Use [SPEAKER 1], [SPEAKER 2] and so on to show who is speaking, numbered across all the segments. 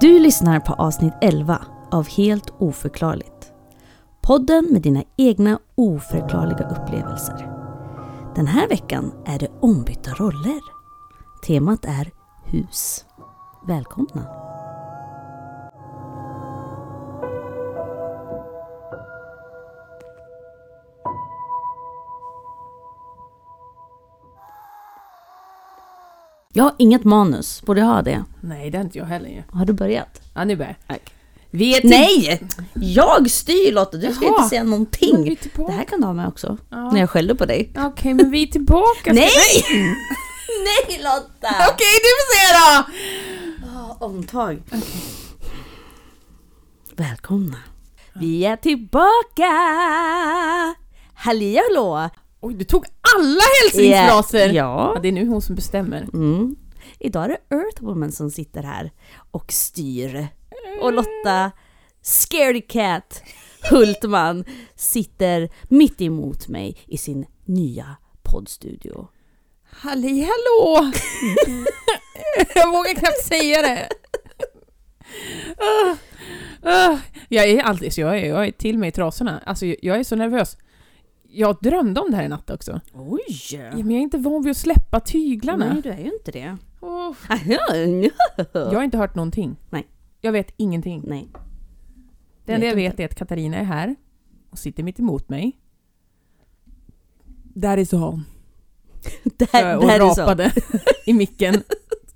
[SPEAKER 1] Du lyssnar på avsnitt 11 av Helt oförklarligt. Podden med dina egna oförklarliga upplevelser. Den här veckan är det ombytta roller. Temat är hus. Välkomna! Jag har inget manus, borde jag ha det?
[SPEAKER 2] Nej, det är inte jag heller ju.
[SPEAKER 1] Har du börjat?
[SPEAKER 2] Ja, nu börjar jag. Vi är till-
[SPEAKER 1] Nej! Jag styr Lotta, du ska
[SPEAKER 2] Jaha.
[SPEAKER 1] inte säga
[SPEAKER 2] Vi är
[SPEAKER 1] någonting.
[SPEAKER 2] tillbaka.
[SPEAKER 1] Det här kan du ha med också,
[SPEAKER 2] Ja.
[SPEAKER 1] när jag skäller på dig.
[SPEAKER 2] Okej, men vi är tillbaka.
[SPEAKER 1] Nej! Nej Lotta!
[SPEAKER 2] Okej, du får säga då!
[SPEAKER 1] Omtag. Välkomna. Vi är tillbaka! Halli hallå!
[SPEAKER 2] Oj, du tog alla hälsningsfraser!
[SPEAKER 1] Ja.
[SPEAKER 2] Ja, det är nu hon som bestämmer.
[SPEAKER 1] Mm. Idag är det Earthwoman som sitter här och styr. Och Lotta, Scaredy Cat Hultman, sitter mitt emot mig i sin nya poddstudio.
[SPEAKER 2] Halli hallå! jag vågar knappt säga det. Ah, ah. Jag är alltid så jag är, jag är till mig i trasorna. Alltså, jag- jag är så nervös. Jag drömde om det här i natt också.
[SPEAKER 1] Oj!
[SPEAKER 2] Ja, men jag är inte van vid att släppa tyglarna.
[SPEAKER 1] Nej, du är ju inte det.
[SPEAKER 2] Åh. Jag
[SPEAKER 1] Jag...
[SPEAKER 2] har inte hört någonting.
[SPEAKER 1] Nej.
[SPEAKER 2] Jag vet ingenting.
[SPEAKER 1] Nej.
[SPEAKER 2] Det enda jag
[SPEAKER 1] Vet
[SPEAKER 2] vet är att Katarina är här och sitter mitt emot mig. Där är så hon.
[SPEAKER 1] Det
[SPEAKER 2] Där,
[SPEAKER 1] här,
[SPEAKER 2] och
[SPEAKER 1] det här är så.
[SPEAKER 2] rapade i micken.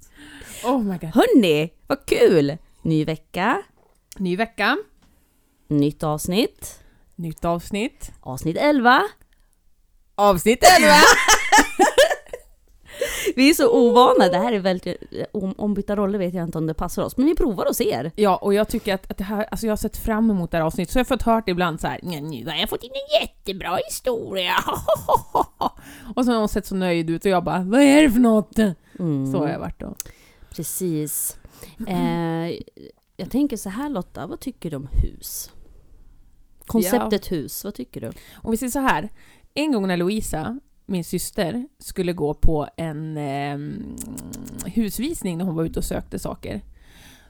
[SPEAKER 2] Oh my god.
[SPEAKER 1] Hörni, vad kul! Ny vecka,
[SPEAKER 2] Ny vecka,
[SPEAKER 1] nytt avsnitt.
[SPEAKER 2] nytt avsnitt.
[SPEAKER 1] Avsnitt 11.
[SPEAKER 2] Avsnitt 11!
[SPEAKER 1] Vi är så ovana, det här är väldigt... eh, Om, ombytta roller vet jag inte om det passar oss, men vi provar och ser.
[SPEAKER 2] ja, och jag tycker att, att det här, alltså jag har sett fram emot det här avsnittet, så jag har fått hört ibland så här. "Nej, nu har jag fått in en jättebra historia. och så har hon sett så nöjd ut och jag bara, vad är det för något?
[SPEAKER 1] Mm,
[SPEAKER 2] Så har jag varit Mm. då.
[SPEAKER 1] Precis. Eh, jag tänker så här Lotta, vad tycker du om hus? Konceptet hus, vad tycker du?
[SPEAKER 2] Om vi säger så här. En gång när Louisa, min syster, skulle gå på en eh, husvisning när hon var ute och sökte saker.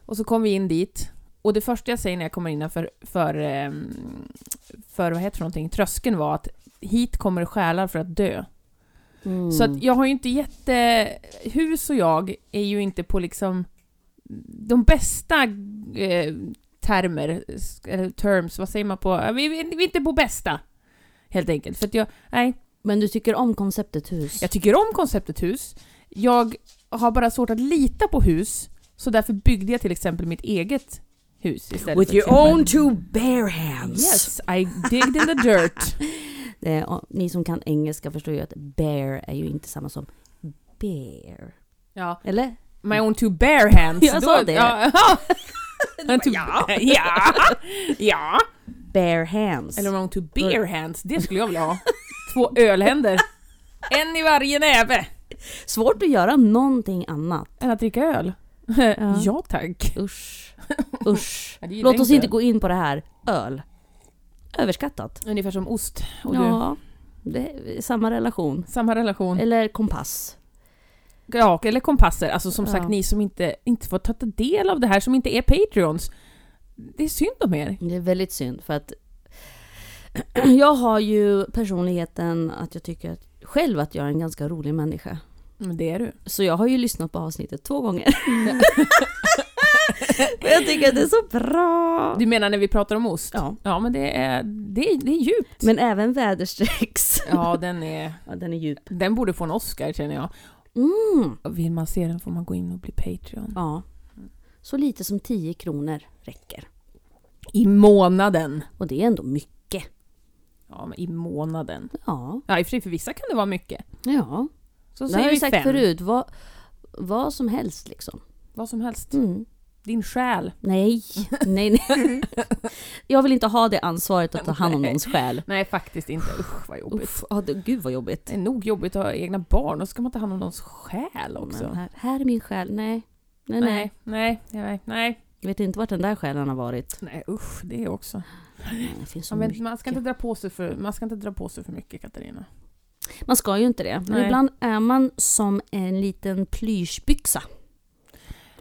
[SPEAKER 2] Och så kom vi in dit. Och det första jag säger när jag kommer innanför för, eh, för, vad heter det för någonting, tröskeln var att hit kommer det själar för att dö.
[SPEAKER 1] Mm.
[SPEAKER 2] Så att jag har ju inte jätte... Hus och jag är ju inte på liksom de bästa eh, termer, eller terms, vad säger man på? eh, Vi, vi, vi är inte på bästa. Helt enkelt. För att jag, nej,
[SPEAKER 1] Men du tycker om konceptet hus?
[SPEAKER 2] jag tycker om konceptet hus. Jag har bara svårt att lita på hus, så därför byggde jag till exempel mitt eget hus istället. för ett timmer.
[SPEAKER 1] two bare hands!
[SPEAKER 2] Yes, I digged in the dirt.
[SPEAKER 1] Det är, ja, ni som kan engelska förstår ju att bear är ju inte samma som bear.
[SPEAKER 2] Ja,
[SPEAKER 1] Eller?
[SPEAKER 2] my own two bare hands.
[SPEAKER 1] Jag sa det.
[SPEAKER 2] Ja, ja, ja, ja.
[SPEAKER 1] Bare hands.
[SPEAKER 2] Eller wrong to beer hands, det skulle jag vilja ha. Två ölhänder. En i varje näve.
[SPEAKER 1] Svårt att göra någonting annat.
[SPEAKER 2] Än att dricka öl.
[SPEAKER 1] Ja.
[SPEAKER 2] Ja, tack.
[SPEAKER 1] Usch. Usch.
[SPEAKER 2] Ja, det gillar
[SPEAKER 1] Låt oss
[SPEAKER 2] jag
[SPEAKER 1] inte gå in på det här. Öl. Överskattat.
[SPEAKER 2] Ungefär som ost och du.
[SPEAKER 1] Ja, det är samma relation.
[SPEAKER 2] Samma relation.
[SPEAKER 1] Eller kompass.
[SPEAKER 2] Ja, eller kompasser. Alltså som
[SPEAKER 1] Ja.
[SPEAKER 2] sagt, ni som inte, inte får ta del av det här, som inte är Patreons. Det är synd om er.
[SPEAKER 1] Det är väldigt synd för att jag har ju personligheten att jag tycker att själv att jag är en ganska rolig människa.
[SPEAKER 2] Men det är du.
[SPEAKER 1] Så jag har ju lyssnat på avsnittet två gånger. Men jag tycker att det är så bra.
[SPEAKER 2] Du menar när vi pratar om ost?
[SPEAKER 1] Ja.
[SPEAKER 2] Ja, men det är, det är, det är djupt.
[SPEAKER 1] Men även väderstrecks.
[SPEAKER 2] Ja, den är...
[SPEAKER 1] Ja, den är djup.
[SPEAKER 2] Den borde få en Oscar känner jag.
[SPEAKER 1] Mm.
[SPEAKER 2] Vill man se den får man gå in och bli Patreon.
[SPEAKER 1] Ja. Så lite som 10 kronor räcker.
[SPEAKER 2] I månaden.
[SPEAKER 1] Och det är ändå mycket.
[SPEAKER 2] Ja, men i månaden.
[SPEAKER 1] Ja.
[SPEAKER 2] Ja, i och för sig, för vissa kan det vara mycket.
[SPEAKER 1] Ja. Det
[SPEAKER 2] Så
[SPEAKER 1] har
[SPEAKER 2] säger
[SPEAKER 1] jag
[SPEAKER 2] vi
[SPEAKER 1] ju sagt
[SPEAKER 2] fem.
[SPEAKER 1] förut. Vad, vad som helst liksom.
[SPEAKER 2] Vad som helst.
[SPEAKER 1] Mm.
[SPEAKER 2] Din själ.
[SPEAKER 1] Nej. nej, nej. Jag vill inte ha det ansvaret att ta hand om
[SPEAKER 2] Nej.
[SPEAKER 1] någons själ.
[SPEAKER 2] Nej, faktiskt inte. Usch, vad jobbigt.
[SPEAKER 1] Uff, ja, det, gud vad jobbigt.
[SPEAKER 2] Det är nog jobbigt att ha egna barn och så ska man ta hand om någons själ också.
[SPEAKER 1] Men Här, här är min själ. Nej. Nej, nej.
[SPEAKER 2] Nej, nej, nej, nej,
[SPEAKER 1] Jag vet inte vart den där själen har varit.
[SPEAKER 2] nej, usch, det är också.
[SPEAKER 1] Nej, Det finns så
[SPEAKER 2] Ja, men
[SPEAKER 1] mycket.
[SPEAKER 2] man, ska inte dra på sig för, man ska inte dra på sig för mycket, Katarina.
[SPEAKER 1] Man ska ju inte det. Men
[SPEAKER 2] Nej.
[SPEAKER 1] ibland är man som en liten plyschbyxa.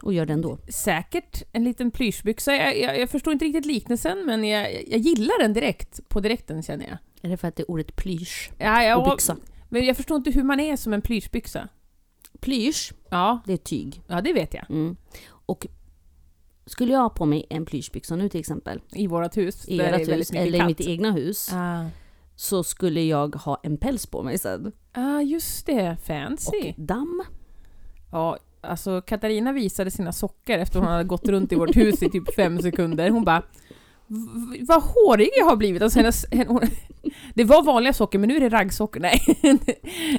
[SPEAKER 1] och gör det ändå.
[SPEAKER 2] Säkert en liten plyschbyxa. Jag, jag, jag förstår inte riktigt liknelsen men jag, jag gillar den direkt. På direkten känner jag.
[SPEAKER 1] Är det för att det är ordet plysch
[SPEAKER 2] Ja, jag
[SPEAKER 1] och byxa?
[SPEAKER 2] Men jag förstår inte hur man är som en plyschbyxa.
[SPEAKER 1] Plysch,
[SPEAKER 2] Ja,
[SPEAKER 1] det är tyg.
[SPEAKER 2] ja, det vet jag.
[SPEAKER 1] Mm. Och skulle jag ha på mig en plyschbyxa nu till exempel,
[SPEAKER 2] I vårt hus.
[SPEAKER 1] i
[SPEAKER 2] där det är
[SPEAKER 1] ert
[SPEAKER 2] väldigt
[SPEAKER 1] hus
[SPEAKER 2] mycket
[SPEAKER 1] eller i
[SPEAKER 2] kallt.
[SPEAKER 1] mitt egna hus,
[SPEAKER 2] Ah.
[SPEAKER 1] så skulle jag ha en päls på mig sen.
[SPEAKER 2] ah, just det. Fancy.
[SPEAKER 1] Och damm.
[SPEAKER 2] Ja, alltså Katarina visade sina sockor efter hon hade gått runt i vårt hus i typ fem sekunder. Hon bara "V- vad hårig jag har blivit! Alltså hennes, hen- hon, det var vanliga sockor men nu är det raggsockor. Nej.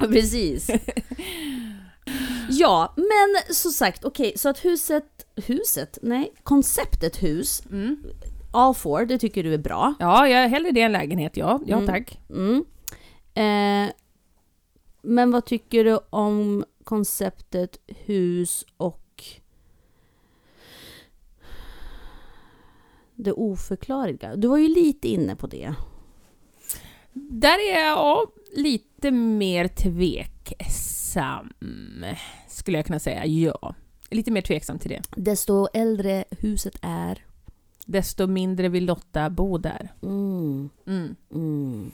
[SPEAKER 1] Precis. Ja, men som sagt, okej, så att huset, huset, nej, konceptet hus,
[SPEAKER 2] Mm.
[SPEAKER 1] all four, det tycker du är bra.
[SPEAKER 2] Ja, jag hellre det än lägenhet. Ja, ja
[SPEAKER 1] Mm.
[SPEAKER 2] tack.
[SPEAKER 1] Mm. Eh, men vad tycker du om konceptet hus och det oförklarliga? Du var ju lite inne på det.
[SPEAKER 2] Där är jag ja, lite mer tveksam, skulle jag kunna säga. Ja, lite mer tveksam till det.
[SPEAKER 1] Desto äldre huset är.
[SPEAKER 2] Desto mindre vill Lotta bo där.
[SPEAKER 1] Mm,
[SPEAKER 2] Mm.
[SPEAKER 1] mm.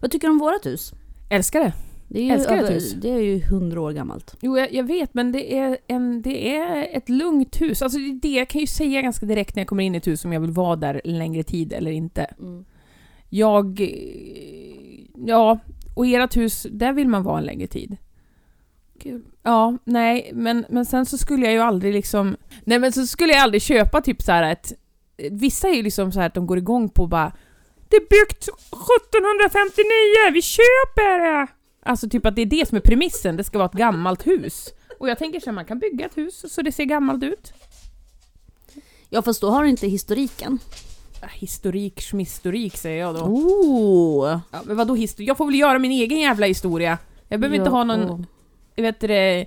[SPEAKER 1] Vad tycker du om vårt hus?
[SPEAKER 2] Älskar det.
[SPEAKER 1] Det är ju,
[SPEAKER 2] Älskar
[SPEAKER 1] över,
[SPEAKER 2] ett hus.
[SPEAKER 1] Det är ju hundra år gammalt.
[SPEAKER 2] Jo, jag, jag vet, men det är, en, det är ett lugnt hus. Alltså, det, är det jag kan ju säga ganska direkt när jag kommer in i ett hus om jag vill vara där längre tid eller inte. Jag... eh, Ja, och ert hus, där vill man vara en längre tid.
[SPEAKER 1] Kul.
[SPEAKER 2] Ja, nej, men, men sen så skulle jag ju aldrig liksom... Nej men så skulle jag aldrig köpa typ så här ett... Vissa är ju liksom så här att de går igång på bara Det är byggt 1759, vi köper det! Alltså typ att det är det som är premissen, det ska vara ett gammalt hus. Och jag tänker så här, man kan bygga ett hus så det ser gammalt ut.
[SPEAKER 1] Ja fast då har du inte historiken.
[SPEAKER 2] Ah, Historik, schmistorik säger jag då.
[SPEAKER 1] Oh.
[SPEAKER 2] Ja, men vadå historia? Jag får väl göra min egen jävla historia. Jag behöver inte ha någon, vet du det,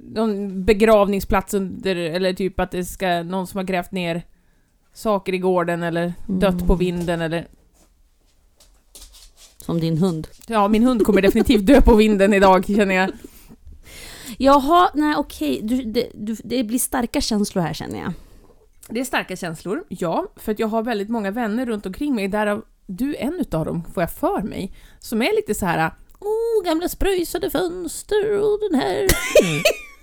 [SPEAKER 2] någon begravningsplats under, eller typ att det ska, någon som har grävt ner saker i gården eller dött på vinden eller...
[SPEAKER 1] Som din hund.
[SPEAKER 2] Ja, min hund kommer definitivt dö på vinden idag känner jag.
[SPEAKER 1] Jaha, nej okej. Du, det, du, det blir starka känslor här känner jag.
[SPEAKER 2] Det är starka känslor, ja, för att jag har väldigt många vänner runt omkring mig, därav du är en utav dem, får jag för mig, som är lite så här Oh, gamla spröjsade fönster och den här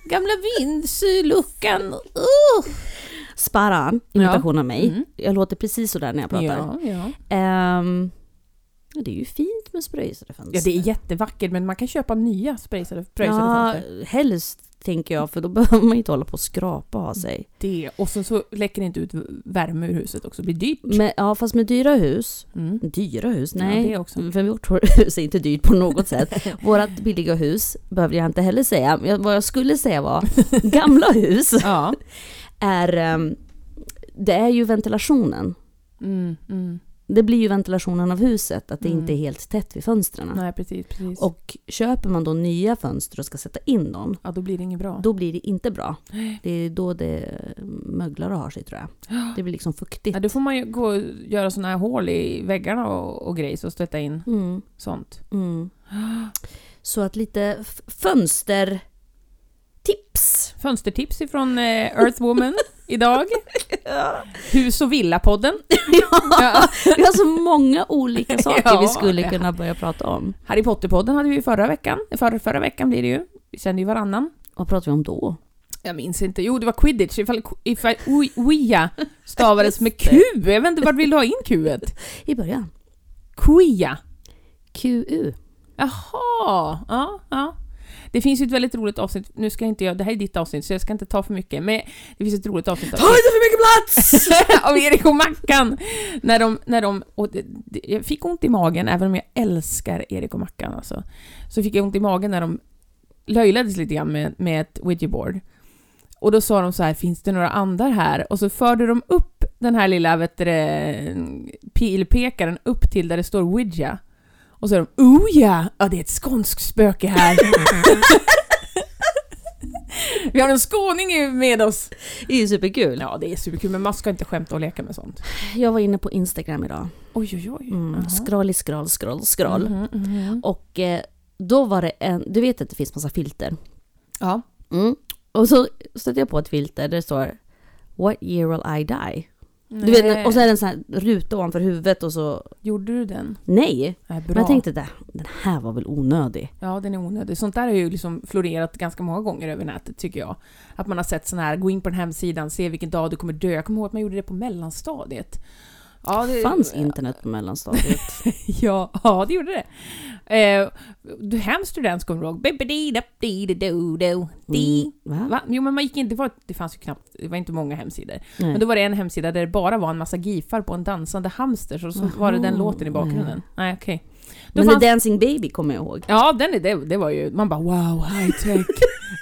[SPEAKER 2] gamla vindsluckan. Uh.
[SPEAKER 1] Sparan, imitation av mig.
[SPEAKER 2] Mm.
[SPEAKER 1] Jag låter precis sådär när jag pratar.
[SPEAKER 2] Ja, ja.
[SPEAKER 1] Ehm, ja, det är ju fint med spröjsade fönster.
[SPEAKER 2] Ja, det är jättevackert men man kan köpa nya spröjsade spröjsade fönster.
[SPEAKER 1] Ja, helst tänker jag för då behöver man ju inte hålla på och skrapa
[SPEAKER 2] Mm.
[SPEAKER 1] och ha sig.
[SPEAKER 2] Det. Och sen så läcker det inte ut värme ur huset också, det blir dyrt.
[SPEAKER 1] Men, ja, fast med dyra hus.
[SPEAKER 2] Mm.
[SPEAKER 1] Dyra hus?
[SPEAKER 2] Ja,
[SPEAKER 1] Nej.
[SPEAKER 2] det också.
[SPEAKER 1] För vårt hus är inte dyrt på något sätt. Vårat billiga hus behöver jag inte heller säga. Men jag- Vad jag skulle säga var, gamla hus
[SPEAKER 2] Ja.
[SPEAKER 1] är... ehm, Det är ju ventilationen.
[SPEAKER 2] Mm, mm.
[SPEAKER 1] Det blir ju ventilationen av huset, att det
[SPEAKER 2] Mm.
[SPEAKER 1] inte är helt tätt vid fönstren.
[SPEAKER 2] Nej, precis. precis.
[SPEAKER 1] Och köper man då nya fönster och ska sätta in dem,
[SPEAKER 2] ja, då blir det inget bra.
[SPEAKER 1] då blir det inte bra. Det är då det möglar och har sig tror jag. Det blir liksom fuktigt.
[SPEAKER 2] Ja, då får man ju gå och göra såna här hål i väggarna och, och grejs och stötta in
[SPEAKER 1] Mm,
[SPEAKER 2] sånt.
[SPEAKER 1] mm. Så att lite f- fönstertips.
[SPEAKER 2] Fönstertips ifrån eh, Earthwoman idag. Hus och villa-podden.
[SPEAKER 1] Ja, vi har så många olika saker
[SPEAKER 2] Ja.
[SPEAKER 1] vi skulle kunna börja prata om.
[SPEAKER 2] Harry Potter-podden hade vi ju förra veckan. Förra, förra veckan blir det ju. Vi kände ju varannan.
[SPEAKER 1] Vad pratar vi om då?
[SPEAKER 2] Jag minns inte. Jo, det var quidditch. Ifall, ifall oi- Ouija stavades med Q. Jag vet inte, vart vill du ha in Q?
[SPEAKER 1] I början.
[SPEAKER 2] Quia.
[SPEAKER 1] QU.
[SPEAKER 2] Jaha. Ja, ja. Det finns ju ett väldigt roligt avsnitt. Nu ska jag inte jag... Det här är ditt avsnitt, så jag ska inte ta för mycket. Men det finns ett roligt avsnitt av,
[SPEAKER 1] inte för mycket plats!
[SPEAKER 2] av Erik och Mackan. När de... När de och det, det, jag fick ont i magen, även om jag älskar Erik och Mackan. Alltså. Så fick jag ont i magen när de löjlades lite grann med, med ett Ouija-board. Och då sa de så här, finns det några andar här? Och så förde de upp den här lilla vet du, det, pilpekaren upp till där det står Ouija. Och så är de, oh ja, ja det är ett skånskt spöke här. Vi har en skåning med oss.
[SPEAKER 1] Det är ju superkul.
[SPEAKER 2] Ja, det är superkul, men man ska inte skämta och leka med sånt.
[SPEAKER 1] Jag var inne på Instagram idag.
[SPEAKER 2] Oj, oj, oj.
[SPEAKER 1] Mm.
[SPEAKER 2] Jaha.
[SPEAKER 1] Scroll i scroll, scroll, scroll.
[SPEAKER 2] Mhm, mhm.
[SPEAKER 1] Och eh, då var det en, du vet att det finns massa filter.
[SPEAKER 2] Ja.
[SPEAKER 1] Mm.
[SPEAKER 3] Och så stötte jag på ett filter där det står What year will I die? Du
[SPEAKER 2] Nej.
[SPEAKER 3] vet, och så är det en sån här ruta ovanför huvudet och så
[SPEAKER 2] Gjorde du den?
[SPEAKER 3] Nej!
[SPEAKER 2] Nej, bra.
[SPEAKER 3] Men jag tänkte det, den här var väl onödig.
[SPEAKER 2] Ja, den är onödig. Sånt där har ju liksom florerat ganska många gånger över nätet tycker jag. Att man har sett sån här, gå in på den här hemsidan, se vilken dag du kommer dö. Jag kommer ihåg att man gjorde det på mellanstadiet. Ja, det,
[SPEAKER 3] Fanns internet på mellanstadiet?
[SPEAKER 2] Ja, ja, det gjorde det. Eh, du hemskt student kommer du ihåg? Bibbidi-dabbidi-do-do. Di.
[SPEAKER 3] Mm. Va?
[SPEAKER 2] Va? Jo men man gick in, det, var, det fanns ju knappt, det var inte många hemsidor.
[SPEAKER 3] Nej.
[SPEAKER 2] Men då var det en hemsida där det bara var en massa gifar på en dansande hamster, så, så var det den
[SPEAKER 3] Jaha,
[SPEAKER 2] låten i bakgrunden.
[SPEAKER 3] nej.
[SPEAKER 2] Nej, okej. Då
[SPEAKER 3] Men
[SPEAKER 2] fanns-
[SPEAKER 3] The Dancing Baby kommer jag ihåg.
[SPEAKER 2] Ja, den är, det, det var ju... Man bara wow, high tech.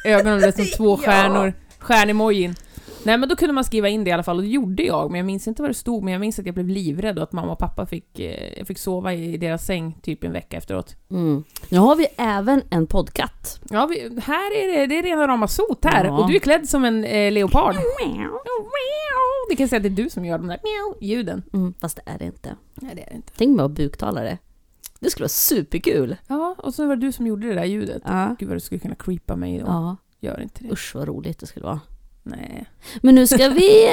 [SPEAKER 2] Ögonen blev som två
[SPEAKER 3] Ja.
[SPEAKER 2] stjärnor. Stjärnemojin. Nej men då kunde man skriva in det i alla fall och det gjorde jag, men jag minns inte vad det stod, men jag minns att jag blev livrädd och att mamma och pappa fick, eh, jag fick sova i deras säng typ en vecka efteråt.
[SPEAKER 3] Mm. Nu har vi även en podkatt.
[SPEAKER 2] Ja, vi, här är det, det är rena rama sot här
[SPEAKER 3] Ja.
[SPEAKER 2] och du är klädd som en eh, leopard. Det kan jag säga att det är du som gör de där ljuden.
[SPEAKER 3] Mm, fast det är det inte.
[SPEAKER 2] Nej det är det inte.
[SPEAKER 3] Tänk mig att vara buktalare. Det skulle vara superkul.
[SPEAKER 2] Ja, och så var det du som gjorde det där ljudet.
[SPEAKER 3] Ja.
[SPEAKER 2] Gud vad du skulle kunna creepa mig då.
[SPEAKER 3] ja.
[SPEAKER 2] Gör inte det.
[SPEAKER 3] Usch vad roligt det skulle vara.
[SPEAKER 2] Nej.
[SPEAKER 3] Men nu ska vi eh,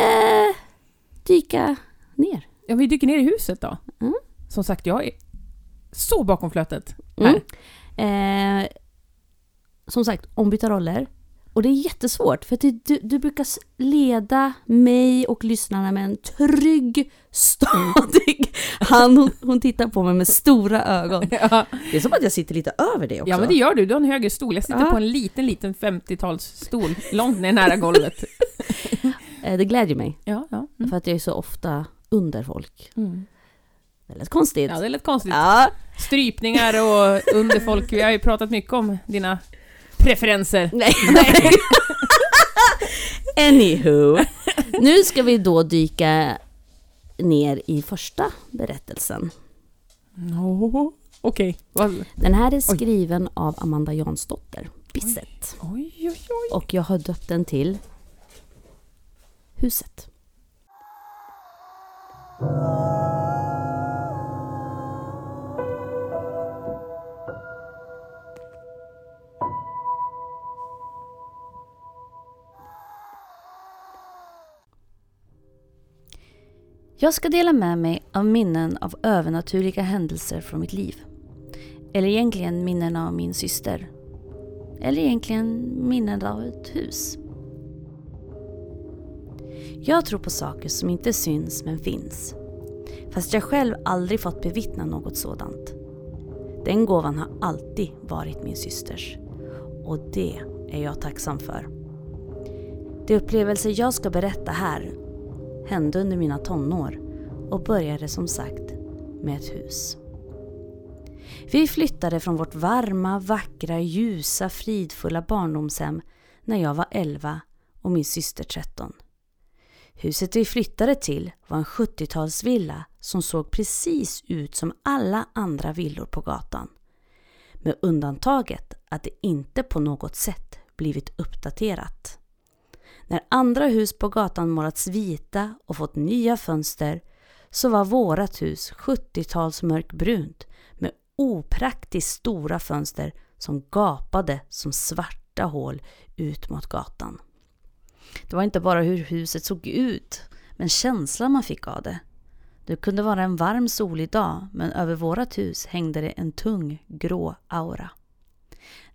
[SPEAKER 3] dyka ner.
[SPEAKER 2] Ja, vi dyker ner i huset då.
[SPEAKER 3] Mm.
[SPEAKER 2] Som sagt, jag är så bakom flötet.
[SPEAKER 3] Mm. Eh, som sagt, ombyta roller. Och det är jättesvårt för att det, du, du brukar s- leda mig och lyssnarna med en trygg, stadig hand. Hon, hon tittar på mig med stora ögon.
[SPEAKER 2] Ja.
[SPEAKER 3] Det är som att jag sitter lite över det också.
[SPEAKER 2] ja, men det gör du. Du har en högre stol. Jag sitter
[SPEAKER 3] Ja.
[SPEAKER 2] på en liten, liten 50-talsstol långt ner nära golvet.
[SPEAKER 3] Eh, det glädjer mig
[SPEAKER 2] Ja, ja. Mm.
[SPEAKER 3] för att jag är så ofta under folk.
[SPEAKER 2] Mm.
[SPEAKER 3] Det lät konstigt.
[SPEAKER 2] ja det lät konstigt.
[SPEAKER 3] Ja.
[SPEAKER 2] Strypningar och underfolk. Vi har ju pratat mycket om dina preferenser.
[SPEAKER 3] Nej. Anywho. Nu ska vi då dyka ner i första berättelsen.
[SPEAKER 2] No. Okej. Vad-
[SPEAKER 3] Den här är skriven av Amanda Jansdotter Bissett.
[SPEAKER 2] Oj, oj, oj.
[SPEAKER 3] Och jag har döpt den till Huset.
[SPEAKER 1] Jag ska dela med mig av minnen av övernaturliga händelser från mitt liv. Eller egentligen minnen av min syster. Eller egentligen minnen av ett hus. Jag tror på saker som inte syns men finns. Fast jag själv aldrig fått bevittna något sådant. Den gåvan har alltid varit min systers. Och det är jag tacksam för. De upplevelser jag ska berätta här hände under mina tonår och började som sagt med ett hus. Vi flyttade från vårt varma, vackra, ljusa, fridfulla barndomshem när jag var 11 och min syster 13. Huset vi flyttade till var en 70-talsvilla som såg precis ut som alla andra villor på gatan. Med undantaget att det inte på något sätt blivit uppdaterat. När andra hus på gatan målats vita och fått nya fönster så var vårat hus 70-tals mörkbrunt med opraktiskt stora fönster som gapade som svarta hål ut mot gatan. Det var inte bara hur huset såg ut, men känslan man fick av det. Det kunde vara en varm solig dag, men över vårat hus hängde det en tung grå aura.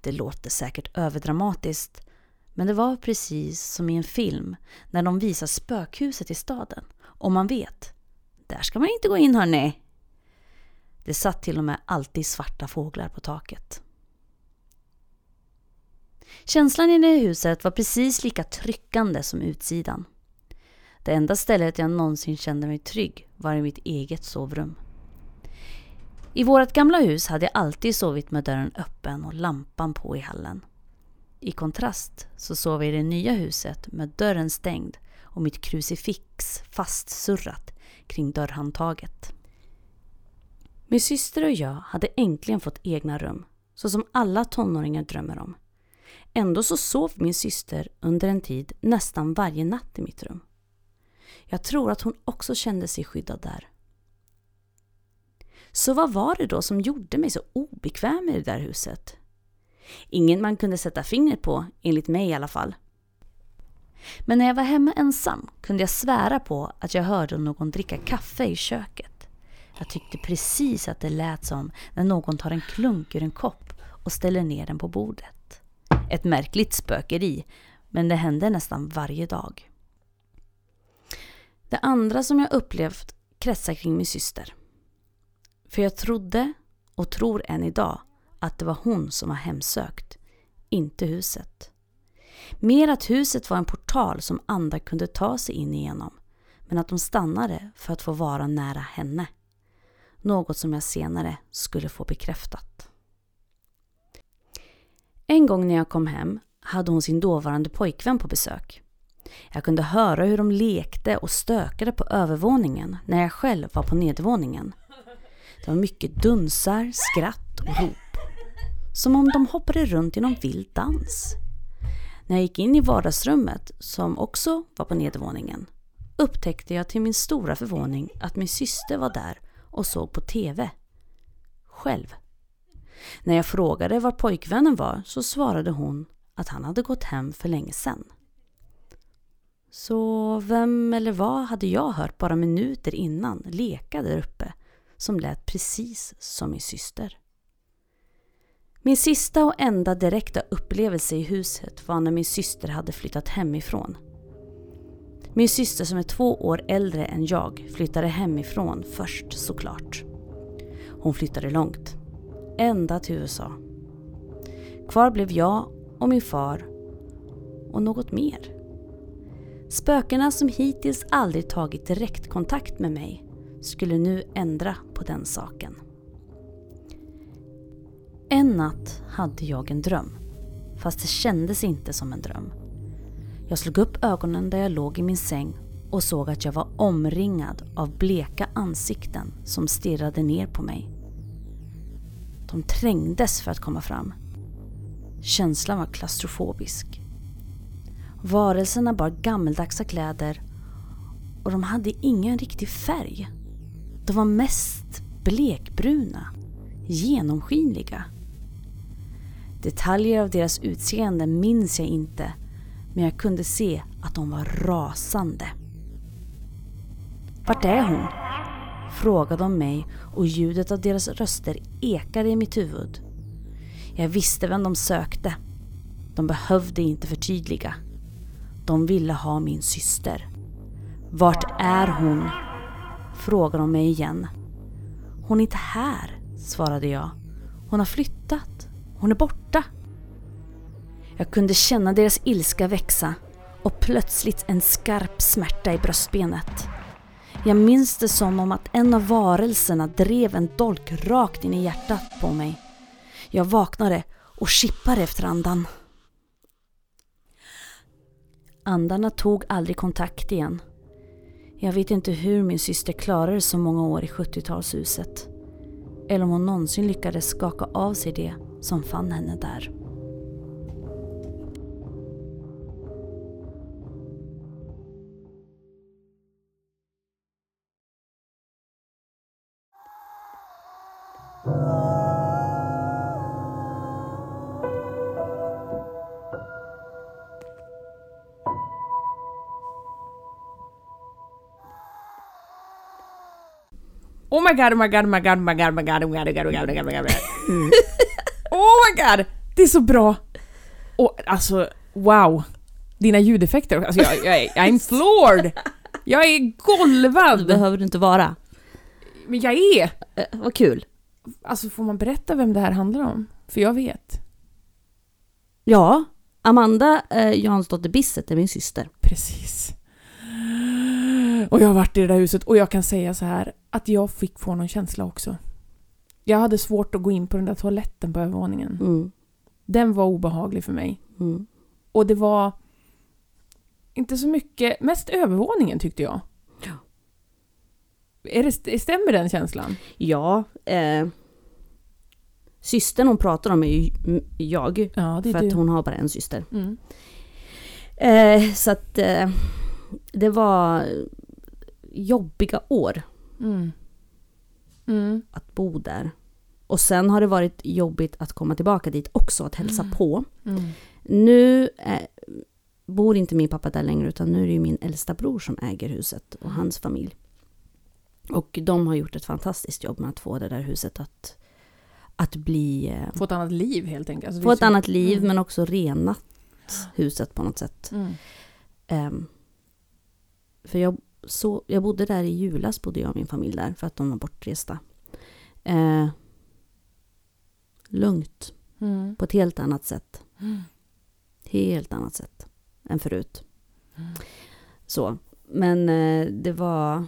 [SPEAKER 1] Det låter säkert överdramatiskt, men det var precis som i en film när de visar spökhuset i staden. Och man vet, där ska man inte gå in hörni. Det satt till och med alltid svarta fåglar på taket. Känslan inne i huset var precis lika tryckande som utsidan. Det enda stället jag någonsin kände mig trygg var i mitt eget sovrum. I vårt gamla hus hade jag alltid sovit med dörren öppen och lampan på i hallen. I kontrast så sov jag i det nya huset med dörren stängd och mitt krucifix fastsurrat kring dörrhandtaget. Min syster och jag hade äntligen fått egna rum, så som alla tonåringar drömmer om. Ändå så sov min syster under en tid nästan varje natt i mitt rum. Jag tror att hon också kände sig skyddad där. Så vad var det då som gjorde mig så obekväm i det där huset? Ingen man kunde sätta fingret på, enligt mig i alla fall. Men när jag var hemma ensam kunde jag svära på att jag hörde någon dricka kaffe i köket. Jag tyckte precis att det lät som när någon tar en klunk ur en kopp och ställer ner den på bordet. Ett märkligt spökeri, men det hände nästan varje dag. Det andra som jag upplevt kretsar kring min syster. För jag trodde, och tror än idag, att det var hon som var hemsökt, inte huset. Mer att huset var en portal som andra kunde ta sig in igenom, men att de stannade för att få vara nära henne. Något som jag senare skulle få bekräftat. En gång när jag kom hem hade hon sin dåvarande pojkvän på besök. Jag kunde höra hur de lekte och stökade på övervåningen när jag själv var på nedervåningen. Det var mycket dunsar, skratt och rop. Som om de hoppade runt i någon vild dans. När jag gick in i vardagsrummet, som också var på nedervåningen, upptäckte jag till min stora förvåning att min syster var där och såg på TV. Själv. När jag frågade var pojkvännen var så svarade hon att han hade gått hem för länge sedan. Så vem eller vad hade jag hört bara minuter innan leka där uppe som lät precis som min syster? Min sista och enda direkta upplevelse i huset var när min syster hade flyttat hemifrån. Min syster som är två år äldre än jag flyttade hemifrån först såklart. Hon flyttade långt. Ända till USA. Kvar blev jag och min far och något mer. Spökena som hittills aldrig tagit direktkontakt med mig skulle nu ändra på den saken. En natt hade jag en dröm. Fast det kändes inte som en dröm. Jag slog upp ögonen där jag låg i min säng och såg att jag var omringad av bleka ansikten som stirrade ner på mig. De trängdes för att komma fram. Känslan var klaustrofobisk. Varelserna bar gammeldagsa kläder och de hade ingen riktig färg. De var mest blekbruna, genomskinliga. Detaljer av deras utseende minns jag inte men jag kunde se att de var rasande. Vart är hon? Frågade de mig och ljudet av deras röster ekade i mitt huvud. Jag visste vem de sökte. De behövde inte förtydliga. De ville ha min syster. Vart är hon? Frågade de mig igen. Hon är inte här, svarade jag. Hon har flyttat. Hon är borta. Jag kunde känna deras ilska växa och plötsligt en skarp smärta i bröstbenet. Jag minns det som om att en av varelserna drev en dolk rakt in i hjärtat på mig. Jag vaknade och kippade efter andan. Andarna tog aldrig kontakt igen. Jag vet inte hur min syster klarade så många år i 70-talshuset. Eller om hon någonsin lyckades skaka av sig det som fann henne där.
[SPEAKER 2] Oh my god, oh my god, oh my god, oh my god, oh my god, oh my god, oh my god, oh my god, oh my god, oh my god. Oh my god! Det är så bra! Och alltså, wow! Dina ljudeffekter, alltså jag, jag är, I'm floored! Jag är
[SPEAKER 1] Det
[SPEAKER 2] golvad!
[SPEAKER 1] behöver du inte vara.
[SPEAKER 2] Men jag är!
[SPEAKER 1] Mm. Eh, vad kul.
[SPEAKER 2] Alltså får man berätta vem det här handlar om? För jag vet.
[SPEAKER 1] Ja, Amanda eh, Jansdotter Bisset är min syster.
[SPEAKER 2] Precis. Och jag har varit i det där huset och jag kan säga så här att jag fick få någon känsla också. Jag hade svårt att gå in på den där toaletten på övervåningen.
[SPEAKER 1] Mm.
[SPEAKER 2] Den var obehaglig för mig.
[SPEAKER 1] Mm.
[SPEAKER 2] Och det var inte så mycket, mest övervåningen tyckte jag.
[SPEAKER 1] Ja.
[SPEAKER 2] Är det, stämmer den känslan?
[SPEAKER 1] Ja, eh, systern hon pratar om är ju m- jag.
[SPEAKER 2] Ja, det
[SPEAKER 1] För
[SPEAKER 2] är
[SPEAKER 1] att
[SPEAKER 2] du.
[SPEAKER 1] hon har bara en syster.
[SPEAKER 2] Mm.
[SPEAKER 1] Eh, så att eh, det var jobbiga år
[SPEAKER 2] Mm. Mm.
[SPEAKER 1] att bo där. Och sen har det varit Mm. jobbigt att komma tillbaka dit också, att hälsa på.
[SPEAKER 2] Mm.
[SPEAKER 1] Nu eh,
[SPEAKER 3] bor inte min pappa där längre utan nu är det ju min äldsta bror som äger huset och hans familj. Och de har gjort ett fantastiskt jobb med att få det där huset att, att bli... eh,
[SPEAKER 2] Få ett annat liv helt enkelt. Alltså, det
[SPEAKER 3] Få
[SPEAKER 2] är
[SPEAKER 3] ett
[SPEAKER 2] så-
[SPEAKER 3] annat liv
[SPEAKER 2] Mm.
[SPEAKER 3] men också renat huset på något sätt.
[SPEAKER 2] Mm.
[SPEAKER 3] Ehm, för jag, så, jag bodde där i julas, bodde jag och min familj där, för att de var bortresta. Eh, lugnt,
[SPEAKER 2] Mm.
[SPEAKER 3] på ett helt annat sätt.
[SPEAKER 2] Mm.
[SPEAKER 3] Helt annat sätt än förut.
[SPEAKER 2] Mm.
[SPEAKER 3] Så. Men eh, det var...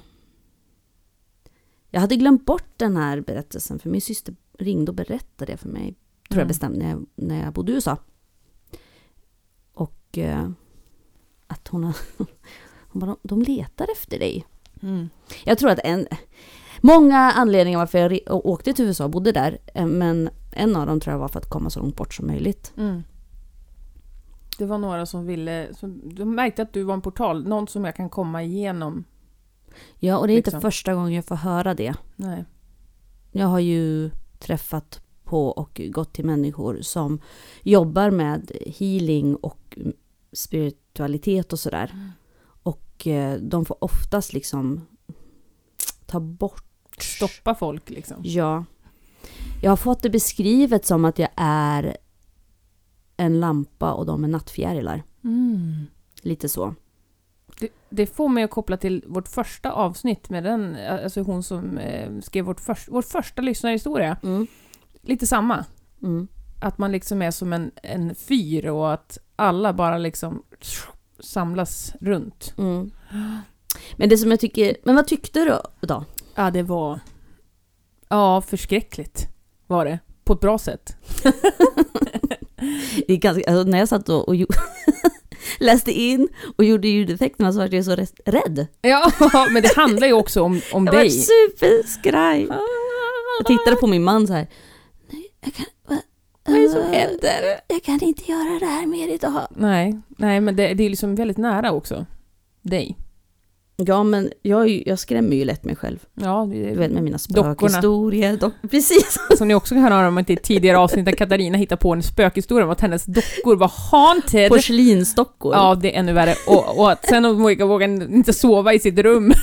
[SPEAKER 3] Jag hade glömt bort den här berättelsen, för min syster ringde och berättade det för mig tror
[SPEAKER 2] Mm.
[SPEAKER 3] jag bestämt när jag, när jag bodde i USA. Och eh, att hon har... Hon bara, de letar efter dig.
[SPEAKER 2] Mm.
[SPEAKER 3] Jag tror att en... Många anledningar varför jag re- å- åkte till USA och bodde där, eh, men en av dem tror jag var för att komma så långt bort som möjligt.
[SPEAKER 2] Mm. Det var några som ville... Som, de märkte att du var en portal, någon som jag kan komma igenom.
[SPEAKER 3] Ja, och det är inte
[SPEAKER 2] Liksom.
[SPEAKER 3] första gången jag får höra det.
[SPEAKER 2] Nej.
[SPEAKER 3] Jag har ju träffat på och gått till människor som jobbar med healing och spiritualitet och sådär. Och eh, de får oftast liksom ta bort...
[SPEAKER 2] Stoppa folk liksom.
[SPEAKER 3] Ja. Jag har fått det beskrivet som att jag är en lampa och de är nattfjärilar. Mm. Lite så.
[SPEAKER 2] Det, det får mig att koppla till vårt första avsnitt med den, alltså hon som eh, skrev vårt först, vår första lyssnarhistoria.
[SPEAKER 3] Mm.
[SPEAKER 2] Lite samma.
[SPEAKER 3] Mm.
[SPEAKER 2] Att man liksom är som en, en fyr och att alla bara liksom samlas runt.
[SPEAKER 3] Mm. Men det som jag tycker... Men vad tyckte du då?
[SPEAKER 2] Ja, det var... Ja, förskräckligt var det. På ett bra sätt.
[SPEAKER 3] Det är ganska, alltså när jag satt och, och gjo- läste in och gjorde ljudeffekterna så var jag så rest- rädd.
[SPEAKER 2] Ja, men det handlar ju också om, om
[SPEAKER 3] Jag var
[SPEAKER 2] dig.
[SPEAKER 3] superskraj. Jag tittade på min man så här. Nej, jag kan, va, alltså,
[SPEAKER 2] Vad är det som händer?
[SPEAKER 3] Jag kan inte göra det här mer idag.
[SPEAKER 2] Nej, nej men det, det är liksom väldigt nära också. Dig.
[SPEAKER 3] Ja, men jag, är ju- jag skrämmer ju lätt mig själv.
[SPEAKER 2] Ja,
[SPEAKER 3] Du
[SPEAKER 2] det,
[SPEAKER 3] vet, med mina
[SPEAKER 2] Dockorna.
[SPEAKER 3] spökhistorier. Dock, precis.
[SPEAKER 2] Alltså, Som ni också kan höra om i ett tidigare avsnitt där Katarina hittar på en spökhistoria om att hennes dockor var haunted.
[SPEAKER 3] Porslinsdockor.
[SPEAKER 2] Ja, det är ännu värre. Och, och att sen hon vågar, vågar inte sova i sitt rum.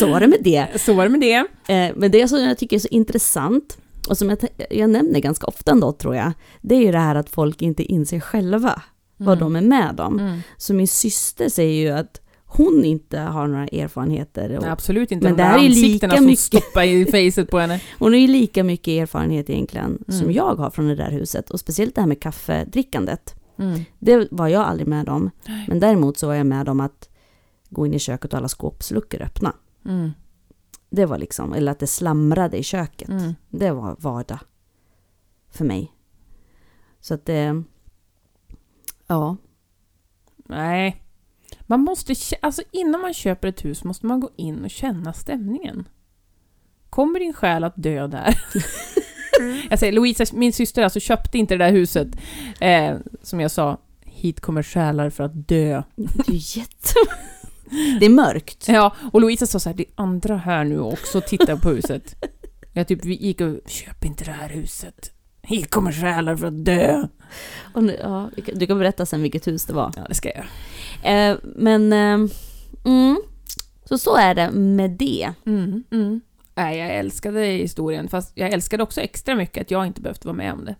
[SPEAKER 3] Så var det med det.
[SPEAKER 2] Så var det med det.
[SPEAKER 3] Eh, men det som jag tycker är så intressant och som jag, tän- jag nämner ganska ofta ändå tror jag, det är ju det här att folk inte inser själva vad de är med om.
[SPEAKER 2] Mm.
[SPEAKER 3] Så min syster säger ju att hon inte har några erfarenheter. Och
[SPEAKER 2] Nej, absolut inte men
[SPEAKER 3] Men
[SPEAKER 2] de
[SPEAKER 3] det
[SPEAKER 2] där
[SPEAKER 3] här är ju
[SPEAKER 2] ansiktena
[SPEAKER 3] lika
[SPEAKER 2] som
[SPEAKER 3] mycket-
[SPEAKER 2] stoppar i facet på henne.
[SPEAKER 3] hon har ju lika mycket erfarenhet egentligen som
[SPEAKER 2] Mm.
[SPEAKER 3] jag har från det där huset. Och speciellt det här med kaffedrickandet.
[SPEAKER 2] Mm.
[SPEAKER 3] Det var jag aldrig med om.
[SPEAKER 2] Nej.
[SPEAKER 3] Men däremot så var jag med om att gå in i köket och alla skåpsluckor öppna.
[SPEAKER 2] Mm.
[SPEAKER 3] Det var liksom, eller att det slamrade i köket.
[SPEAKER 2] Mm.
[SPEAKER 3] Det var vardag för mig. Så att det... Ja.
[SPEAKER 2] Nej. Man måste, kä- alltså innan man köper ett hus måste man gå in och känna stämningen. Kommer din själ att dö där? jag säger, Louisa, min syster alltså köpte inte det där huset. Eh, som jag sa, hit kommer själar för att dö.
[SPEAKER 3] Det är ju jätte... Det är mörkt.
[SPEAKER 2] Ja, och Louisa sa så här, det är andra här nu också och tittar på huset. Jag typ vi gick och, köp inte det här huset. Hit kommer själar för att dö.
[SPEAKER 3] Och nu, ja, vi kan- du kan berätta sen vilket hus det var.
[SPEAKER 2] Ja, det ska jag.
[SPEAKER 3] Eh, men... Eh, mm. Så så är det med det.
[SPEAKER 2] Mm, mm. Nej, jag älskade historien, fast jag älskade också extra mycket att jag inte behövt vara med om det.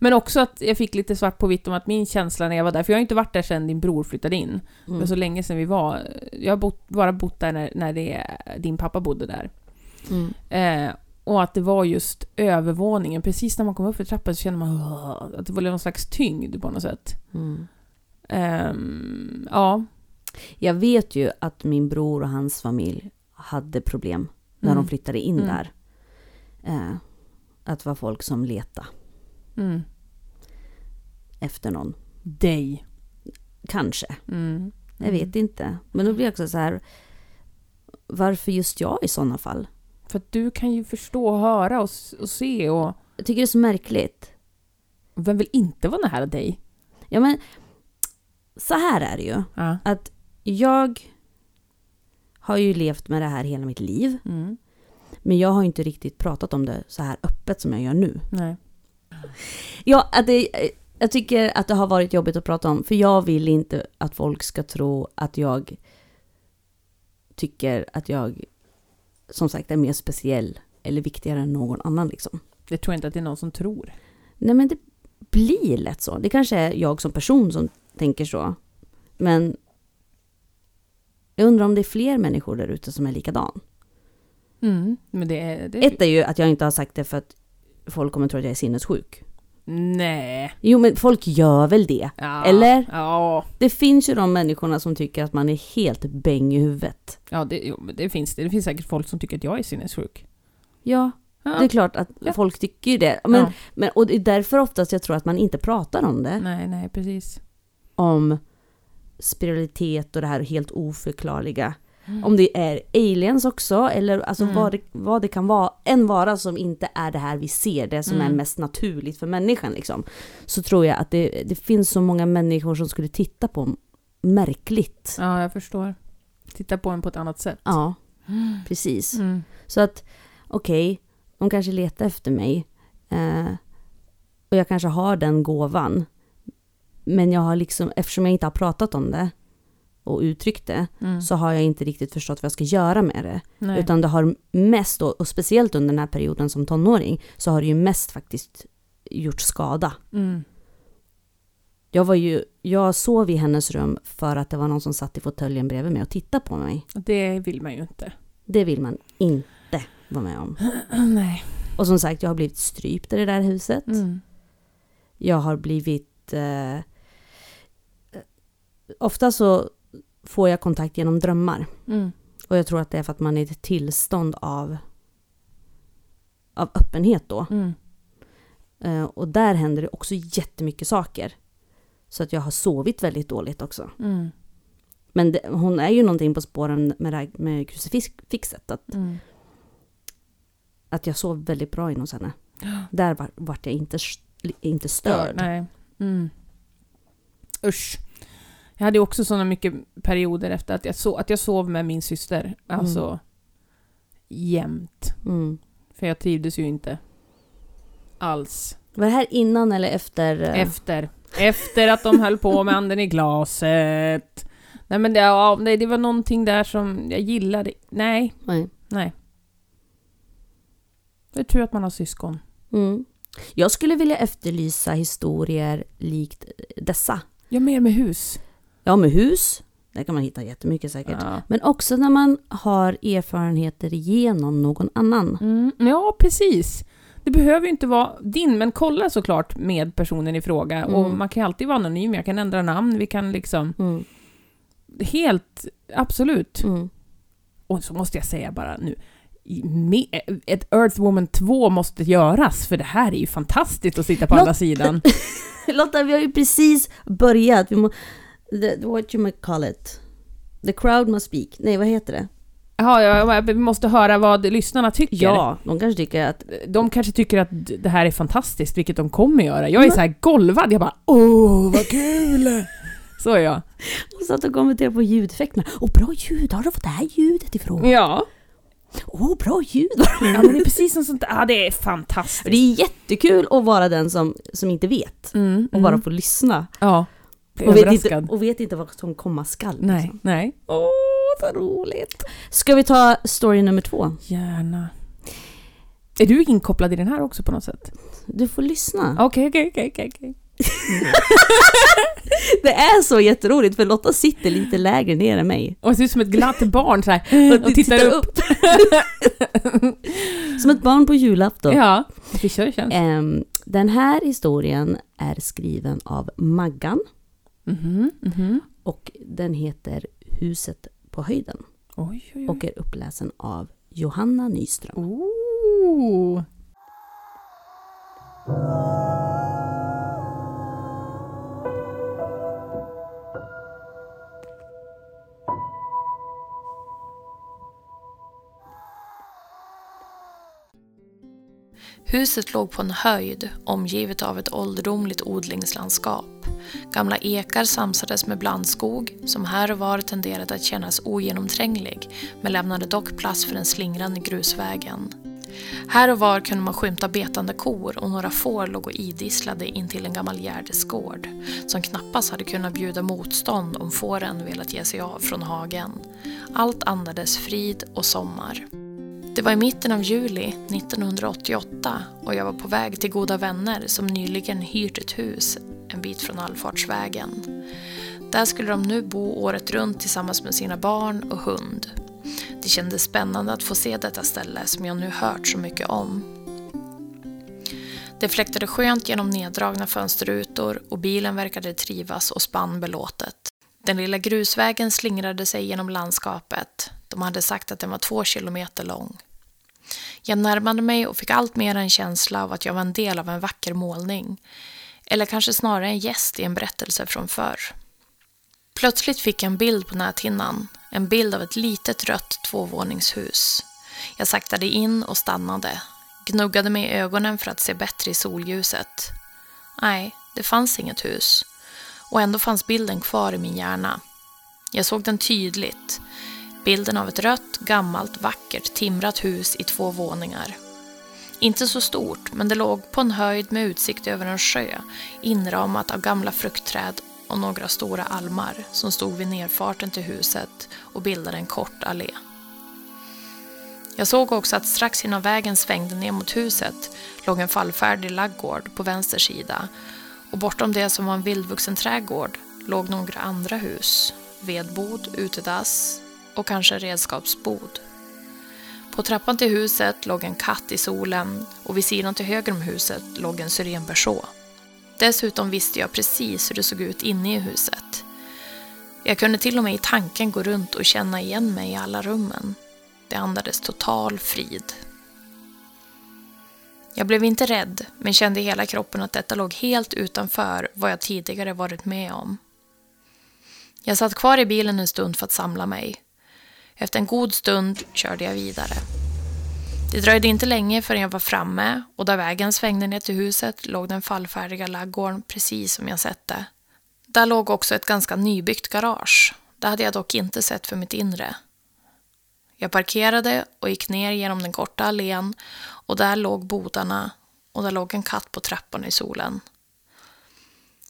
[SPEAKER 2] Men också att jag fick lite svart på vitt om att min känsla när jag var där, för jag har inte varit där sedan din bror flyttade in. Det var
[SPEAKER 3] Mm.
[SPEAKER 2] så länge sedan vi var. Jag har bott, bara bott där när, när det, din pappa bodde där.
[SPEAKER 3] Mm.
[SPEAKER 2] Eh, och att det var just övervåningen, precis när man kom upp för trappan så kände man "Åh", att det var någon slags tyngd på något sätt.
[SPEAKER 3] Mm.
[SPEAKER 2] Ehm, ja.
[SPEAKER 3] Jag vet ju att min bror och hans familj hade problem när
[SPEAKER 2] Mm.
[SPEAKER 3] de flyttade in
[SPEAKER 2] Mm.
[SPEAKER 3] där. Eh, att det var folk som letade
[SPEAKER 2] Mm.
[SPEAKER 3] efter någon.
[SPEAKER 2] Dig.
[SPEAKER 3] Kanske.
[SPEAKER 2] Mm.
[SPEAKER 3] Jag vet inte. Men då blir jag också så här. Varför just jag i sådana fall?
[SPEAKER 2] För att du kan ju förstå och höra och, s- och se och...
[SPEAKER 3] Jag tycker det är så märkligt.
[SPEAKER 2] Vem vill inte vara nära dig?
[SPEAKER 3] Ja men, så här är det ju.
[SPEAKER 2] Ja.
[SPEAKER 3] Jag har ju levt med det här hela mitt liv.
[SPEAKER 2] Mm.
[SPEAKER 3] Men jag har ju inte riktigt pratat om det så här öppet som jag gör nu.
[SPEAKER 2] Nej.
[SPEAKER 3] Ja, att det, jag tycker att det har varit jobbigt att prata om, för jag vill inte att folk ska tro att jag tycker att jag som sagt är mer speciell eller viktigare än någon annan liksom.
[SPEAKER 2] Det tror jag inte att det är någon som tror.
[SPEAKER 3] Nej men det blir lätt så. Det kanske är jag som person som tänker så. Men jag undrar om det är fler människor där ute som är likadan.
[SPEAKER 2] Mm. Men det, är- det, är-
[SPEAKER 3] Ett är ju att jag inte har sagt det för att folk kommer tro att jag är sinnessjuk.
[SPEAKER 2] Nej.
[SPEAKER 3] Jo men folk gör väl det.
[SPEAKER 2] Ja.
[SPEAKER 3] Eller?
[SPEAKER 2] Ja,
[SPEAKER 3] Det finns ju de människorna som tycker att man är helt bäng i huvudet.
[SPEAKER 2] ja det, jo, men det finns det. Det finns säkert folk som tycker att jag är sinnessjuk.
[SPEAKER 3] Ja,
[SPEAKER 2] Ja.
[SPEAKER 3] det är klart att
[SPEAKER 2] Ja.
[SPEAKER 3] folk tycker ju det. Men,
[SPEAKER 2] Ja.
[SPEAKER 3] men, och det är därför oftast jag tror att man inte pratar om det.
[SPEAKER 2] Nej, nej, precis.
[SPEAKER 3] Om spiralitet och det här helt oförklarliga.
[SPEAKER 2] Mm.
[SPEAKER 3] Om det är aliens också, eller alltså
[SPEAKER 2] Mm.
[SPEAKER 3] vad, det, vad det kan vara. En vara som inte är det här vi ser, det som
[SPEAKER 2] Mm.
[SPEAKER 3] är mest naturligt för människan liksom. Så tror jag att det, det finns så många människor som skulle titta på märkligt.
[SPEAKER 2] Ja, jag förstår. Titta på en på ett annat sätt.
[SPEAKER 3] Ja, precis.
[SPEAKER 2] Mm.
[SPEAKER 3] Så att, okej, de kanske letar efter mig. Eh, och jag kanske har den gåvan. Men jag har liksom, eftersom jag inte har pratat om det och uttryckt det,
[SPEAKER 2] Mm.
[SPEAKER 3] så har jag inte riktigt förstått vad jag ska göra med det.
[SPEAKER 2] nej.
[SPEAKER 3] Utan det har mest, då, och speciellt under den här perioden som tonåring, så har det ju mest faktiskt gjort skada.
[SPEAKER 2] Mm.
[SPEAKER 3] Jag, var ju, jag sov i hennes rum för att det var någon som satt i fåtöljen bredvid mig och tittade på mig.
[SPEAKER 2] Det vill man ju inte.
[SPEAKER 3] Det vill man inte vara med om.
[SPEAKER 2] nej.
[SPEAKER 3] Och som sagt, jag har blivit strypt i det där huset.
[SPEAKER 2] Mm.
[SPEAKER 3] Jag har blivit... Eh, eh, ofta så får jag kontakt genom drömmar.
[SPEAKER 2] Mm.
[SPEAKER 3] Och jag tror att det är för att man är i ett tillstånd av, av öppenhet då.
[SPEAKER 2] Mm.
[SPEAKER 3] Eh, och där händer det också jättemycket saker. Så att jag har sovit väldigt dåligt också.
[SPEAKER 2] Mm.
[SPEAKER 3] Men det, hon är ju någonting på spåren med, det här- med krucifixet. Att,
[SPEAKER 2] Mm.
[SPEAKER 3] att jag sov väldigt bra in hos henne. Där var, vart jag inte, st- inte störd.
[SPEAKER 2] Nej. Mm. Usch. Jag hade ju också sådana mycket perioder efter att jag, so- att jag sov med min syster. Alltså jämt.
[SPEAKER 3] Mm.
[SPEAKER 2] För jag trivdes ju inte alls.
[SPEAKER 3] Var det här innan eller efter? eh,
[SPEAKER 2] Efter. Efter att de höll på med anden i glaset. Nej men det, ja, nej, det var någonting där som jag gillade. Nej,
[SPEAKER 3] Nej.
[SPEAKER 2] det är tur att man har syskon.
[SPEAKER 3] Mm. Jag skulle vilja efterlysa historier likt eh, dessa.
[SPEAKER 2] Ja, mer med hus.
[SPEAKER 3] Ja, med hus. Där kan man hitta jättemycket säkert.
[SPEAKER 2] Ja.
[SPEAKER 3] Men också när man har erfarenheter genom någon annan.
[SPEAKER 2] Mm, ja, precis. Det behöver ju inte vara din, men kolla såklart med personen i fråga.
[SPEAKER 3] Mm.
[SPEAKER 2] Och man kan ju alltid vara anonym, jag kan ändra namn, vi kan liksom...
[SPEAKER 3] Mm.
[SPEAKER 2] Helt, absolut.
[SPEAKER 3] Mm.
[SPEAKER 2] Och så måste jag säga bara nu, i- me- ett Earthwoman 2 måste göras, för det här är ju fantastiskt att sitta på
[SPEAKER 3] Nå-
[SPEAKER 2] andra sidan.
[SPEAKER 3] Lotta, vi har ju precis börjat. Vi må... The, what you may call it? The crowd must speak. Nej, vad heter det?
[SPEAKER 2] Ja, ja, ja, vi måste höra vad lyssnarna tycker.
[SPEAKER 3] Ja, de kanske tycker att...
[SPEAKER 2] De kanske tycker att d- det här är fantastiskt, vilket de kommer göra. Jag är
[SPEAKER 3] Mm.
[SPEAKER 2] så här golvad, jag bara åh, vad kul! Så är jag.
[SPEAKER 3] Hon satt och kommenterade på ljudeffekterna. Åh, bra ljud! Har du fått det här ljudet ifrån?
[SPEAKER 2] Ja.
[SPEAKER 3] Åh, bra ljud!
[SPEAKER 2] Ja, men det är precis som sånt Ja, det är fantastiskt.
[SPEAKER 3] Det är jättekul att vara den som, som inte vet
[SPEAKER 2] Mm,
[SPEAKER 3] och bara få lyssna.
[SPEAKER 2] Ja. Blir
[SPEAKER 3] Och vet,
[SPEAKER 2] överraskad.
[SPEAKER 3] inte, och vet inte vad som komma skall.
[SPEAKER 2] Nej,
[SPEAKER 3] liksom.
[SPEAKER 2] nej.
[SPEAKER 3] Åh, så roligt! Ska vi ta story nummer två?
[SPEAKER 2] Gärna. Är du inkopplad i den här också på något sätt?
[SPEAKER 3] Du får lyssna.
[SPEAKER 2] Okej, okej, okej, okej, okej.
[SPEAKER 3] Det är så jätteroligt för Lotta sitter lite lägre ner än mig.
[SPEAKER 2] Och ser ut som ett glatt barn så här. och tittar upp.
[SPEAKER 3] Som ett barn på julafton.
[SPEAKER 2] Ja, det kör känns.
[SPEAKER 3] Ehm, den här historien är skriven av Maggan
[SPEAKER 2] Mhm, mhm.
[SPEAKER 3] och den heter Huset på höjden
[SPEAKER 2] Oj, oj, oj.
[SPEAKER 3] och är uppläsen av Johanna Nyström.
[SPEAKER 2] Ooh.
[SPEAKER 4] Huset låg på en höjd omgivet av ett ålderdomligt odlingslandskap. Gamla ekar samsades med blandskog som här och var tenderade att kännas ogenomtränglig men lämnade dock plats för den slingrande grusvägen. Här och var kunde man skymta betande kor och några får låg och idisslade intill en gammal gärdesgård som knappast hade kunnat bjuda motstånd om fåren velat ge sig av från hagen. Allt andades frid och sommar. Det var i mitten av juli 1988 och jag var på väg till goda vänner som nyligen hyrt ett hus en bit från allfartsvägen. Där skulle de nu bo året runt tillsammans med sina barn och hund. Det kändes spännande att få se detta ställe som jag nu hört så mycket om. Det fläktade skönt genom neddragna fönsterrutor och bilen verkade trivas och spann belåtet. Den lilla grusvägen slingrade sig genom landskapet. De hade sagt att den var två kilometer lång. Jag närmade mig och fick allt mer en känsla av att jag var en del av en vacker målning. Eller kanske snarare en gäst i en berättelse från förr. Plötsligt fick jag en bild på näthinnan. En bild av ett litet rött tvåvåningshus. Jag saktade in och stannade. Gnuggade mig i ögonen för att se bättre i solljuset. Nej, det fanns inget hus. Och ändå fanns bilden kvar i min hjärna. Jag såg den tydligt. Bilden av ett rött, gammalt, vackert, timrat hus i två våningar. Inte så stort, men det låg på en höjd med utsikt över en sjö, inramat av gamla fruktträd och några stora almar som stod vid nerfarten till huset och bildade en kort allé. Jag såg också att strax innan vägen svängde ner mot huset låg en fallfärdig laggård på vänster sida och bortom det som var en vildvuxen trädgård låg några andra hus. Vedbod, utedass och kanske redskapsbod. På trappan till huset låg en katt i solen och vid sidan till höger om huset låg en syrenberså. Dessutom visste jag precis hur det såg ut inne i huset. Jag kunde till och med i tanken gå runt och känna igen mig i alla rummen. Det andades total frid. Jag blev inte rädd, men kände i hela kroppen att detta låg helt utanför vad jag tidigare varit med om. Jag satt kvar i bilen en stund för att samla mig. Efter en god stund körde jag vidare. Det dröjde inte länge förrän jag var framme och där vägen svängde ner till huset låg den fallfärdiga laggården precis som jag sett det. Där låg också ett ganska nybyggt garage. Det hade jag dock inte sett för mitt inre. Jag parkerade och gick ner genom den korta allén och där låg bodarna och där låg en katt på trappan i solen.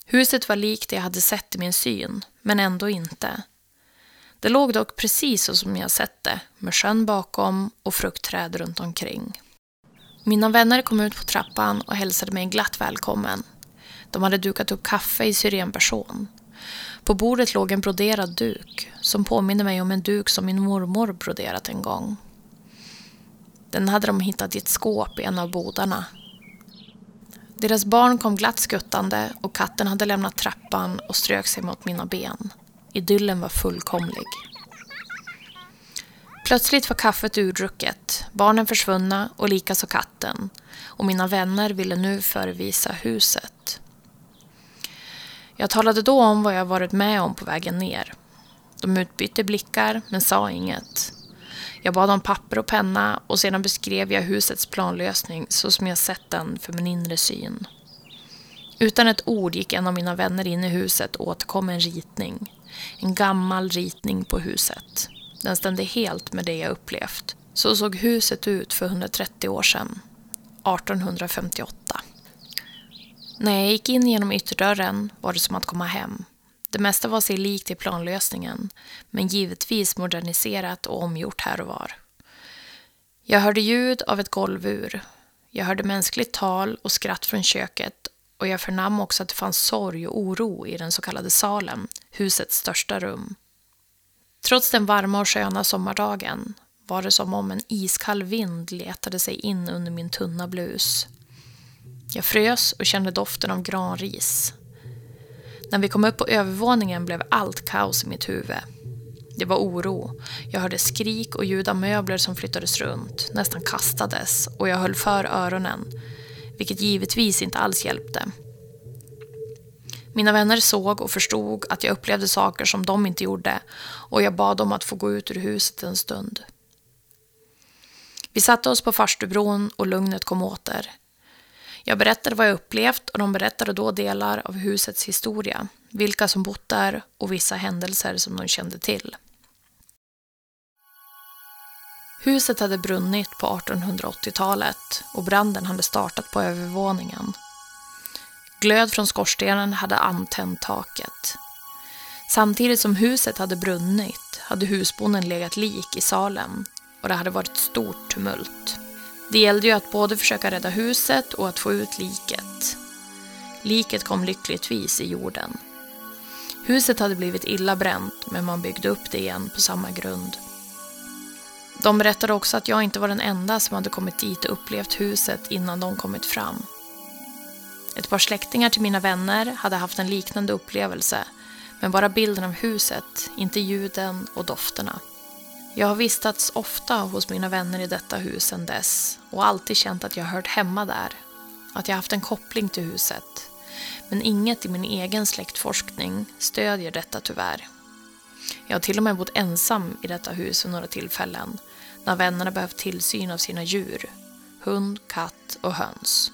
[SPEAKER 4] Huset var likt det jag hade sett i min syn, men ändå inte. Det låg dock precis så som jag sett det, med sjön bakom och fruktträd runt omkring. Mina vänner kom ut på trappan och hälsade mig glatt välkommen. De hade dukat upp kaffe i syrenperson. På bordet låg en broderad duk som påminner mig om en duk som min mormor broderat en gång. Den hade de hittat i ett skåp i en av bodarna. Deras barn kom glatt skuttande och katten hade lämnat trappan och strök sig mot mina ben. Idyllen var fullkomlig. Plötsligt var kaffet urdrucket, barnen försvunna och likaså katten. Och mina vänner ville nu förevisa huset. Jag talade då om vad jag varit med om på vägen ner. De utbytte blickar men sa inget. Jag bad om papper och penna och sedan beskrev jag husets planlösning så som jag sett den för min inre syn. Utan ett ord gick en av mina vänner in i huset och återkom en ritning. En gammal ritning på huset. Den stämde helt med det jag upplevt. Så såg huset ut för 130 år sedan. 1858. När jag gick in genom ytterdörren var det som att komma hem. Det mesta var sig likt i planlösningen, men givetvis moderniserat och omgjort här och var. Jag hörde ljud av ett golvur. Jag hörde mänskligt tal och skratt från köket och jag förnam också att det fanns sorg och oro i den så kallade salen, husets största rum. Trots den varma och sköna sommardagen var det som om en iskall vind letade sig in under min tunna blus. Jag frös och kände doften av granris. När vi kom upp på övervåningen blev allt kaos i mitt huvud. Det var oro. Jag hörde skrik och ljud av möbler som flyttades runt, nästan kastades och jag höll för öronen, vilket givetvis inte alls hjälpte. Mina vänner såg och förstod att jag upplevde saker som de inte gjorde och jag bad om att få gå ut ur huset en stund. Vi satte oss på farstubron och lugnet kom åter. Jag berättade vad jag upplevt och de berättade då delar av husets historia, vilka som bott där och vissa händelser som de kände till. Huset hade brunnit på 1880-talet och branden hade startat på övervåningen. Glöd från skorstenen hade antänt taket. Samtidigt som huset hade brunnit hade husbonden legat lik i salen och det hade varit stort tumult. Det gällde ju att både försöka rädda huset och att få ut liket. Liket kom lyckligtvis i jorden. Huset hade blivit illa bränt men man byggde upp det igen på samma grund. De berättade också att jag inte var den enda som hade kommit dit och upplevt huset innan de kommit fram. Ett par släktingar till mina vänner hade haft en liknande upplevelse men bara bilden av huset, inte ljuden och dofterna. Jag har vistats ofta hos mina vänner i detta hus sedan dess och alltid känt att jag hört hemma där. Att jag haft en koppling till huset. Men inget i min egen släktforskning stödjer detta tyvärr. Jag har till och med bott ensam i detta hus vid några tillfällen när vännerna behövt tillsyn av sina djur. Hund, katt och höns.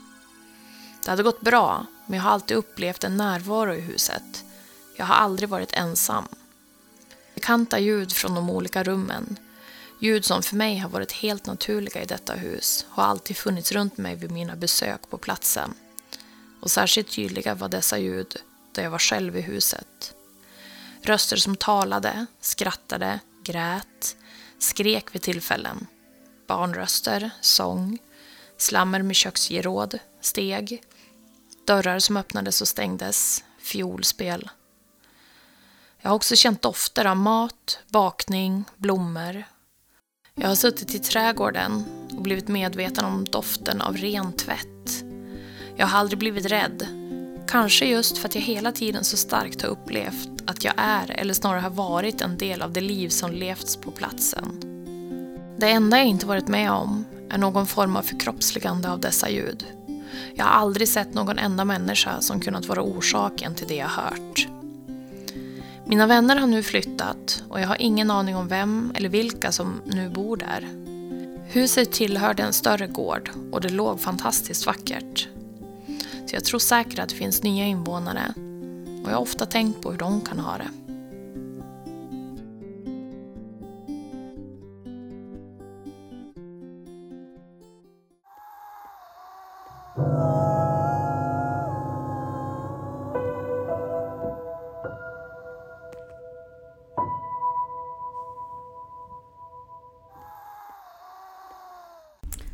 [SPEAKER 4] Det hade gått bra, men jag har alltid upplevt en närvaro i huset. Jag har aldrig varit ensam. Bekanta ljud från de olika rummen. Ljud som för mig har varit helt naturliga i detta hus har alltid funnits runt mig vid mina besök på platsen. Och särskilt tydliga var dessa ljud då jag var själv i huset. Röster som talade, skrattade, grät, skrek vid tillfällen. Barnröster, sång, slammer med köksgeråd, steg, dörrar som öppnades och stängdes, fiolspel. Jag har också känt dofter av mat, bakning, blommor. Jag har suttit i trädgården och blivit medveten om doften av ren tvätt. Jag har aldrig blivit rädd. Kanske just för att jag hela tiden så starkt har upplevt att jag är, eller snarare har varit, en del av det liv som levts på platsen. Det enda jag inte varit med om är någon form av förkroppsligande av dessa ljud. Jag har aldrig sett någon enda människa som kunnat vara orsaken till det jag hört. Mina vänner har nu flyttat och jag har ingen aning om vem eller vilka som nu bor där. Huset tillhörde en större gård och det låg fantastiskt vackert. Så jag tror säkert att det finns nya invånare och jag har ofta tänkt på hur de kan ha det.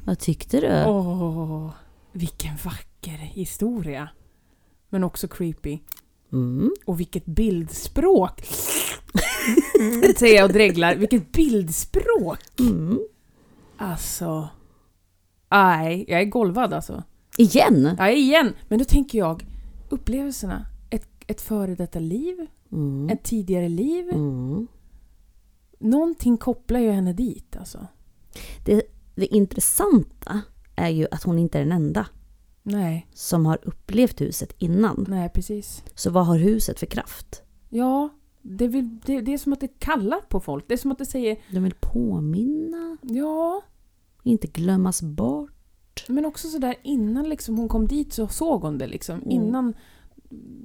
[SPEAKER 3] Vad tyckte du?
[SPEAKER 2] Åh, vilken vacker historia. Men också creepy.
[SPEAKER 3] Mm.
[SPEAKER 2] Och vilket bildspråk! Säger jag och dreglar. Vilket bildspråk!
[SPEAKER 3] Mm.
[SPEAKER 2] Alltså... Nej, jag är golvad alltså.
[SPEAKER 3] Igen!
[SPEAKER 2] Nej, igen! Men då tänker jag, upplevelserna. Ett, ett före detta liv,
[SPEAKER 3] Mm.
[SPEAKER 2] ett tidigare liv.
[SPEAKER 3] Mm.
[SPEAKER 2] Någonting kopplar ju henne dit alltså.
[SPEAKER 3] Det, det intressanta är ju att hon inte är den enda
[SPEAKER 2] Nej,
[SPEAKER 3] som har upplevt huset innan.
[SPEAKER 2] nej precis.
[SPEAKER 3] Så vad har huset för kraft?
[SPEAKER 2] Ja, det, vill, det, det är som att det kallar på folk. Det är som att det säger
[SPEAKER 3] De vill påminna,
[SPEAKER 2] ja.
[SPEAKER 3] inte glömmas bort.
[SPEAKER 2] Men också sådär innan liksom hon kom dit så såg hon det liksom. Innan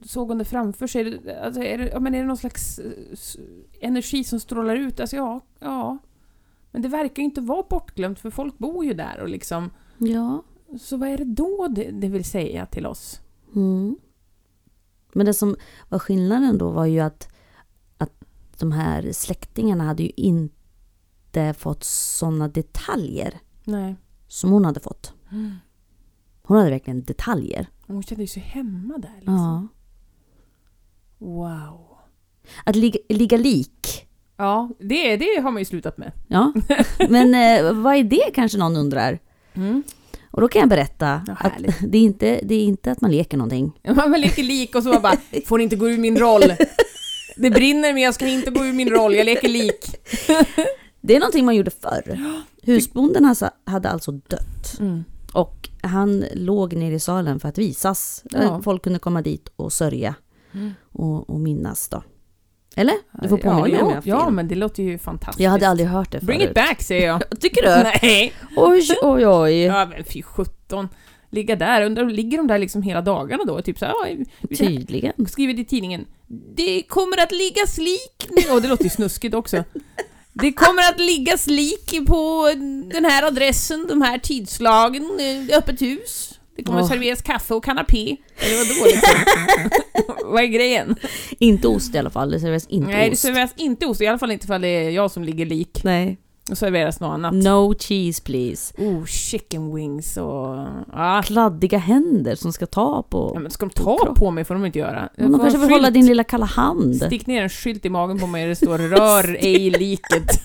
[SPEAKER 2] såg hon det framför sig. Är det- Alltså, är, det, ja, men är det någon slags eh, s- energi som strålar ut? Alltså ja, ja. Men det verkar ju inte vara bortglömt för folk bor ju där och liksom.
[SPEAKER 3] Ja.
[SPEAKER 2] Så vad är det då det, det vill säga till oss?
[SPEAKER 3] Mm. Men det som var skillnaden då var ju att, att de här släktingarna hade ju inte fått sådana detaljer
[SPEAKER 2] Nej.
[SPEAKER 3] som hon hade fått.
[SPEAKER 2] Mm.
[SPEAKER 3] Hon hade verkligen detaljer.
[SPEAKER 2] Hon kände sig hemma där liksom.
[SPEAKER 3] Ja.
[SPEAKER 2] Wow.
[SPEAKER 3] Att ligga, ligga lik.
[SPEAKER 2] Ja, det, det har man ju slutat med.
[SPEAKER 3] Ja. Men eh, vad är det kanske någon undrar?
[SPEAKER 2] Mm.
[SPEAKER 3] Och då kan jag berätta
[SPEAKER 2] Ja,
[SPEAKER 3] att
[SPEAKER 2] härligt.
[SPEAKER 3] det är, inte, det är inte att man leker någonting.
[SPEAKER 2] Man var lite lik och så var bara “Får inte gå ur min roll?” Det brinner men jag ska inte gå ur min roll, jag leker lik.
[SPEAKER 3] Det är någonting man gjorde förr. Husbonden alltså, hade alltså dött.
[SPEAKER 2] Mm.
[SPEAKER 3] Och han låg nere i salen för att visas. Eh,
[SPEAKER 2] Ja. Mm.
[SPEAKER 3] Folk kunde komma dit och sörja och, och minnas då. Eller? Du får påminna mig
[SPEAKER 2] ja,
[SPEAKER 3] om
[SPEAKER 2] ja,
[SPEAKER 3] jag har
[SPEAKER 2] ja,
[SPEAKER 3] fel.
[SPEAKER 2] men det låter ju fantastiskt.
[SPEAKER 3] Jag hade aldrig hört det förut.
[SPEAKER 2] Bring it back säger jag.
[SPEAKER 3] Tycker du?
[SPEAKER 2] Nej.
[SPEAKER 3] Oj, oj, oj.
[SPEAKER 2] Ja men fy sjutton. Ligga där, undrar, ligger de där liksom hela dagarna då? Typ så här, ja, vi-
[SPEAKER 3] Tydligen.
[SPEAKER 2] skriver i tidningen “Det kommer att liggas lik nu”. Och det låter ju snuskigt också. Det kommer att liggas lik på den här adressen, de här tidslagen, eh, öppet hus. Det kommer att
[SPEAKER 3] Åh.
[SPEAKER 2] serveras kaffe och kanapé. Eller vadå liksom? Vad är grejen?
[SPEAKER 3] Inte ost i alla fall, det serveras inte
[SPEAKER 2] Nej, det
[SPEAKER 3] ost.
[SPEAKER 2] serveras inte ost. I alla fall inte ifall det är jag som ligger lik.
[SPEAKER 3] Nej.
[SPEAKER 2] Och serveras något annat.
[SPEAKER 3] No cheese please.
[SPEAKER 2] Mm. Oh, chicken wings och... Ja.
[SPEAKER 3] Kladdiga händer som ska ta
[SPEAKER 2] Ja,
[SPEAKER 3] på...
[SPEAKER 2] men ska de ta på mig får de inte göra. Jag
[SPEAKER 3] De
[SPEAKER 2] får ha
[SPEAKER 3] kanske
[SPEAKER 2] en
[SPEAKER 3] vill hålla
[SPEAKER 2] skylt.
[SPEAKER 3] din lilla kalla hand.
[SPEAKER 2] Stick ner en skylt i magen på mig där det står “Rör ej liket”.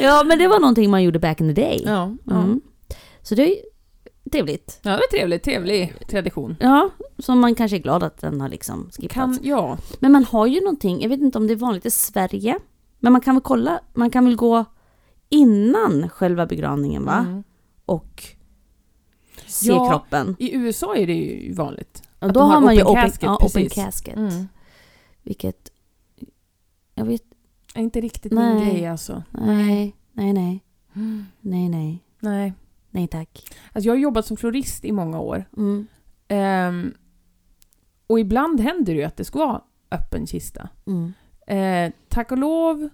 [SPEAKER 3] Ja, men det var någonting man gjorde back in the day.
[SPEAKER 2] Ja, ja.
[SPEAKER 3] Mm. Så det är ju trevligt.
[SPEAKER 2] ja det var trevligt. Trevlig tradition.
[SPEAKER 3] Ja, som man kanske är glad att den har liksom skippats.
[SPEAKER 2] Kan, ja.
[SPEAKER 3] Men man har ju någonting, jag vet inte om det är vanligt i Sverige, men man kan väl kolla, man kan väl gå innan själva begravningen va?
[SPEAKER 2] Mm.
[SPEAKER 3] Och se
[SPEAKER 2] Ja,
[SPEAKER 3] kroppen.
[SPEAKER 2] I USA är det ju vanligt.
[SPEAKER 3] Och
[SPEAKER 2] att
[SPEAKER 3] då
[SPEAKER 2] de
[SPEAKER 3] har
[SPEAKER 2] har
[SPEAKER 3] man ju
[SPEAKER 2] open
[SPEAKER 3] open
[SPEAKER 2] casket,
[SPEAKER 3] casket, ja, open
[SPEAKER 2] precis.
[SPEAKER 3] casket
[SPEAKER 2] Mm.
[SPEAKER 3] vilket... Jag vet...
[SPEAKER 2] Är inte riktigt
[SPEAKER 3] Nej.
[SPEAKER 2] min grej alltså.
[SPEAKER 3] Nej, nej, nej, nej, nej,
[SPEAKER 2] Nej.
[SPEAKER 3] nej tack.
[SPEAKER 2] Alltså jag har jobbat som florist i många år.
[SPEAKER 3] Mm.
[SPEAKER 2] Ehm, och ibland händer det ju att det ska vara öppen kista.
[SPEAKER 3] Mm.
[SPEAKER 2] Eh, tack och lov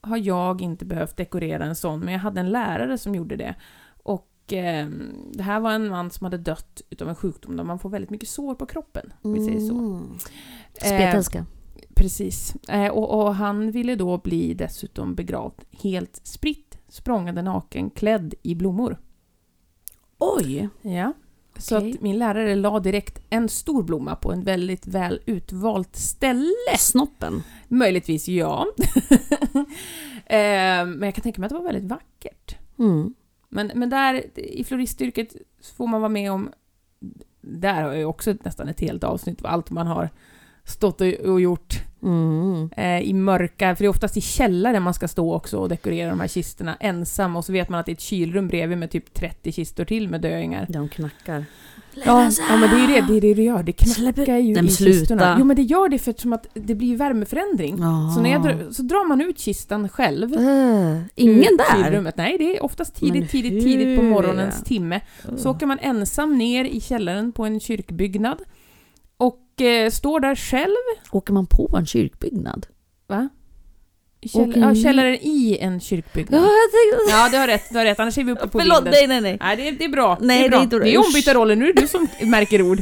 [SPEAKER 2] har jag inte behövt dekorera en sån, men jag hade en lärare som gjorde det. Och ehm, det här var en man som hade dött utav en sjukdom där man får väldigt mycket sår på kroppen. Om vi säger så.
[SPEAKER 3] Mm.
[SPEAKER 2] Eh,
[SPEAKER 3] Spetälska.
[SPEAKER 2] Precis. Eh, och, och han ville då bli dessutom begravd helt spritt språngande naken, klädd i blommor.
[SPEAKER 3] Oj!
[SPEAKER 2] Ja. Så
[SPEAKER 3] Okej.
[SPEAKER 2] att min lärare la direkt en stor blomma på en väldigt väl utvalt ställe.
[SPEAKER 3] Snoppen.
[SPEAKER 2] Möjligtvis ja. eh, men jag kan tänka mig att det var väldigt vackert.
[SPEAKER 3] Mm.
[SPEAKER 2] Men, men där i floristyrket så får man vara med om... Där har jag ju också nästan ett helt avsnitt av allt man har stått och- och gjort
[SPEAKER 3] Mm.
[SPEAKER 2] eh, i mörka, för det är oftast i källaren man ska stå också och dekorera de här kistorna ensam och så vet man att det är ett kylrum bredvid med typ 30 kistor till med döingar.
[SPEAKER 3] De knackar.
[SPEAKER 2] Ja, ja men det är ju det, det är det du gör, det
[SPEAKER 3] Släpp ut-
[SPEAKER 2] knackar ju
[SPEAKER 3] Nej, men
[SPEAKER 2] i kistorna.
[SPEAKER 3] sluta.
[SPEAKER 2] Jo men det gör det för att, som att det blir ju värmeförändring. Så, när jag drar, så drar man ut kistan själv.
[SPEAKER 3] Äh,
[SPEAKER 2] ur
[SPEAKER 3] Ah. ingen där?
[SPEAKER 2] Kylrummet. Nej, det är oftast
[SPEAKER 3] Men
[SPEAKER 2] tidigt,
[SPEAKER 3] hur? Ah.
[SPEAKER 2] tidigt, tidigt på morgonens timme. Så åker man ensam ner i källaren på en kyrkbyggnad och eh, står där själv
[SPEAKER 3] Åker man på en kyrkbyggnad?
[SPEAKER 2] Va? Käll-
[SPEAKER 3] Åker
[SPEAKER 2] ja,
[SPEAKER 3] ni-
[SPEAKER 2] källaren i en
[SPEAKER 3] Ja,
[SPEAKER 2] kyrkbyggnad.
[SPEAKER 3] jag tänkte...
[SPEAKER 2] Ja, du har rätt. Du har rätt. Annars är vi uppe på
[SPEAKER 3] Ah. Förlåt,
[SPEAKER 2] vinden.
[SPEAKER 3] nej nej nej.
[SPEAKER 2] Nej, det är, det är bra.
[SPEAKER 3] Nej,
[SPEAKER 2] det är, bra.
[SPEAKER 3] det är inte bra.
[SPEAKER 2] det är
[SPEAKER 3] Usch. Ah.
[SPEAKER 2] ombytta roller. Nu är det du som märker ord.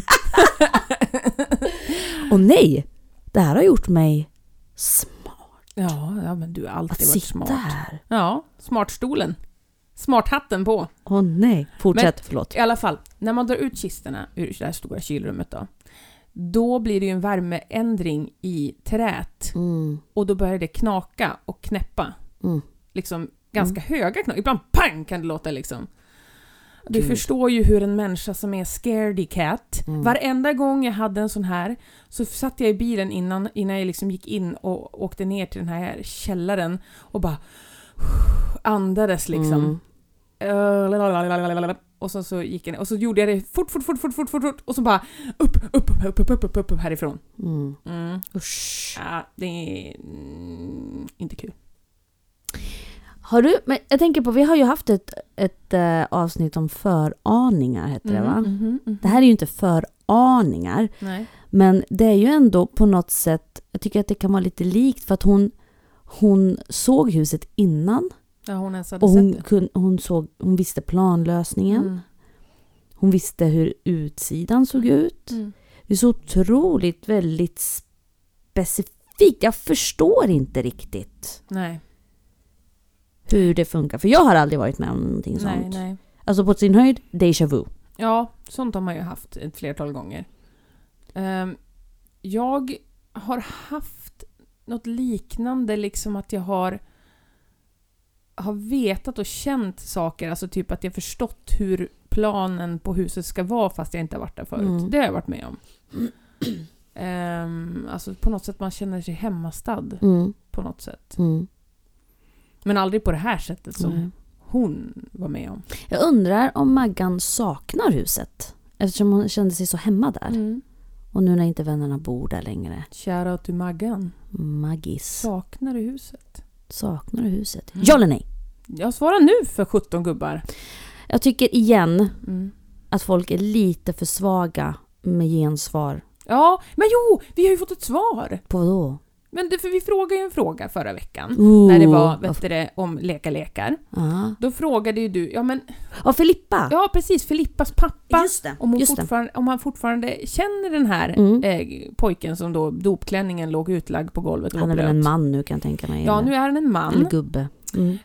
[SPEAKER 3] Och nej! Det här har gjort mig smart.
[SPEAKER 2] Ja, ja men du har
[SPEAKER 3] Att
[SPEAKER 2] alltid varit
[SPEAKER 3] sitta
[SPEAKER 2] smart.
[SPEAKER 3] här.
[SPEAKER 2] Ja, smartstolen. Smarthatten på.
[SPEAKER 3] Åh nej. Fortsätt, förlåt.
[SPEAKER 2] I alla fall, när man drar ut kisterna ur det här stora kylrummet då. Då blir det ju en värmeändring i trät
[SPEAKER 3] Mm.
[SPEAKER 2] och då börjar det knaka och knäppa.
[SPEAKER 3] Mm.
[SPEAKER 2] Liksom ganska höga knak. Ibland pang kan det låta liksom. Du
[SPEAKER 3] Gud.
[SPEAKER 2] förstår ju hur en människa som är scaredy cat.
[SPEAKER 3] Mm.
[SPEAKER 2] Varenda gång jag hade en sån här så satt jag i bilen innan, innan jag liksom gick in och åkte ner till den här källaren och bara andades liksom.
[SPEAKER 3] Mm.
[SPEAKER 2] Eh, lalalala. Och så, så gick jag ner. och så gjorde jag det fort, fort, fort, fort, fort, fort, fort. och så bara upp, upp, upp, upp, upp, upp, upp, upp, upp härifrån.
[SPEAKER 3] Mm.
[SPEAKER 2] Mm.
[SPEAKER 3] Usch.
[SPEAKER 2] Ja, det är mm, inte kul.
[SPEAKER 3] Har du, men jag tänker på, vi har ju haft ett, ett eh, avsnitt om föraningar, hette det va?
[SPEAKER 2] mhm, mhm.
[SPEAKER 3] Det här är ju inte föraningar,
[SPEAKER 2] Nej.
[SPEAKER 3] men det är ju ändå på något sätt, jag tycker att det kan vara lite likt för att hon, hon såg huset innan
[SPEAKER 2] Ja, hon ens hade
[SPEAKER 3] och
[SPEAKER 2] sett
[SPEAKER 3] hon,
[SPEAKER 2] det.
[SPEAKER 3] kun, hon, såg, hon visste planlösningen.
[SPEAKER 2] Mm.
[SPEAKER 3] Hon visste hur utsidan såg ut.
[SPEAKER 2] Mm.
[SPEAKER 3] Det är så otroligt väldigt specifikt. Jag förstår inte riktigt
[SPEAKER 2] Nej,
[SPEAKER 3] hur det funkar. För jag har aldrig varit med om någonting
[SPEAKER 2] nej,
[SPEAKER 3] sånt.
[SPEAKER 2] nej.
[SPEAKER 3] Alltså på sin höjd, déjà vu.
[SPEAKER 2] Ja, sånt har man ju haft ett flertal gånger. Ehm, jag har haft något liknande, liksom att jag har har vetat och känt saker, alltså typ att jag förstått hur planen på huset ska vara fast jag inte har varit där förut.
[SPEAKER 3] Mm.
[SPEAKER 2] Det har jag varit med om. Ehm, alltså på något sätt man känner sig hemmastad
[SPEAKER 3] Mm,
[SPEAKER 2] på något sätt.
[SPEAKER 3] mm,
[SPEAKER 2] Men aldrig på det här sättet som
[SPEAKER 3] nej.
[SPEAKER 2] hon var med om.
[SPEAKER 3] Jag undrar om Maggan saknar huset. Eftersom hon kände sig så hemma där.
[SPEAKER 2] Mm.
[SPEAKER 3] Och nu när inte vännerna bor där längre.
[SPEAKER 2] Shoutout till Maggan.
[SPEAKER 3] Maggis.
[SPEAKER 2] Saknar du huset?
[SPEAKER 3] Saknar du huset?
[SPEAKER 2] Mm.
[SPEAKER 3] Ja eller nej?
[SPEAKER 2] Jag svarar nu för 17 gubbar.
[SPEAKER 3] Jag tycker igen
[SPEAKER 2] Mm.
[SPEAKER 3] att folk är lite för svaga med gensvar.
[SPEAKER 2] Ja, men jo! Vi har ju fått ett svar!
[SPEAKER 3] På vadå?
[SPEAKER 2] Men det, för vi frågade ju en fråga förra veckan.
[SPEAKER 3] Ooh,
[SPEAKER 2] När det var
[SPEAKER 3] vad-
[SPEAKER 2] vet du, det, om leka lekar.
[SPEAKER 3] Ja.
[SPEAKER 2] Då frågade ju du, ja men
[SPEAKER 3] Och Filippa!
[SPEAKER 2] ja precis, Filippas pappa.
[SPEAKER 3] Ah. Just det.
[SPEAKER 2] Om, hon
[SPEAKER 3] Just det.
[SPEAKER 2] fortfarande, om han fortfarande känner den här
[SPEAKER 3] Mm.
[SPEAKER 2] eh, pojken som då dopklänningen låg utlagd på golvet och
[SPEAKER 3] Han är
[SPEAKER 2] var
[SPEAKER 3] väl
[SPEAKER 2] blöt.
[SPEAKER 3] en man nu kan jag tänka mig.
[SPEAKER 2] Ja,
[SPEAKER 3] eller-
[SPEAKER 2] nu är han en
[SPEAKER 3] Eller
[SPEAKER 2] man.
[SPEAKER 3] gubbe. Mm.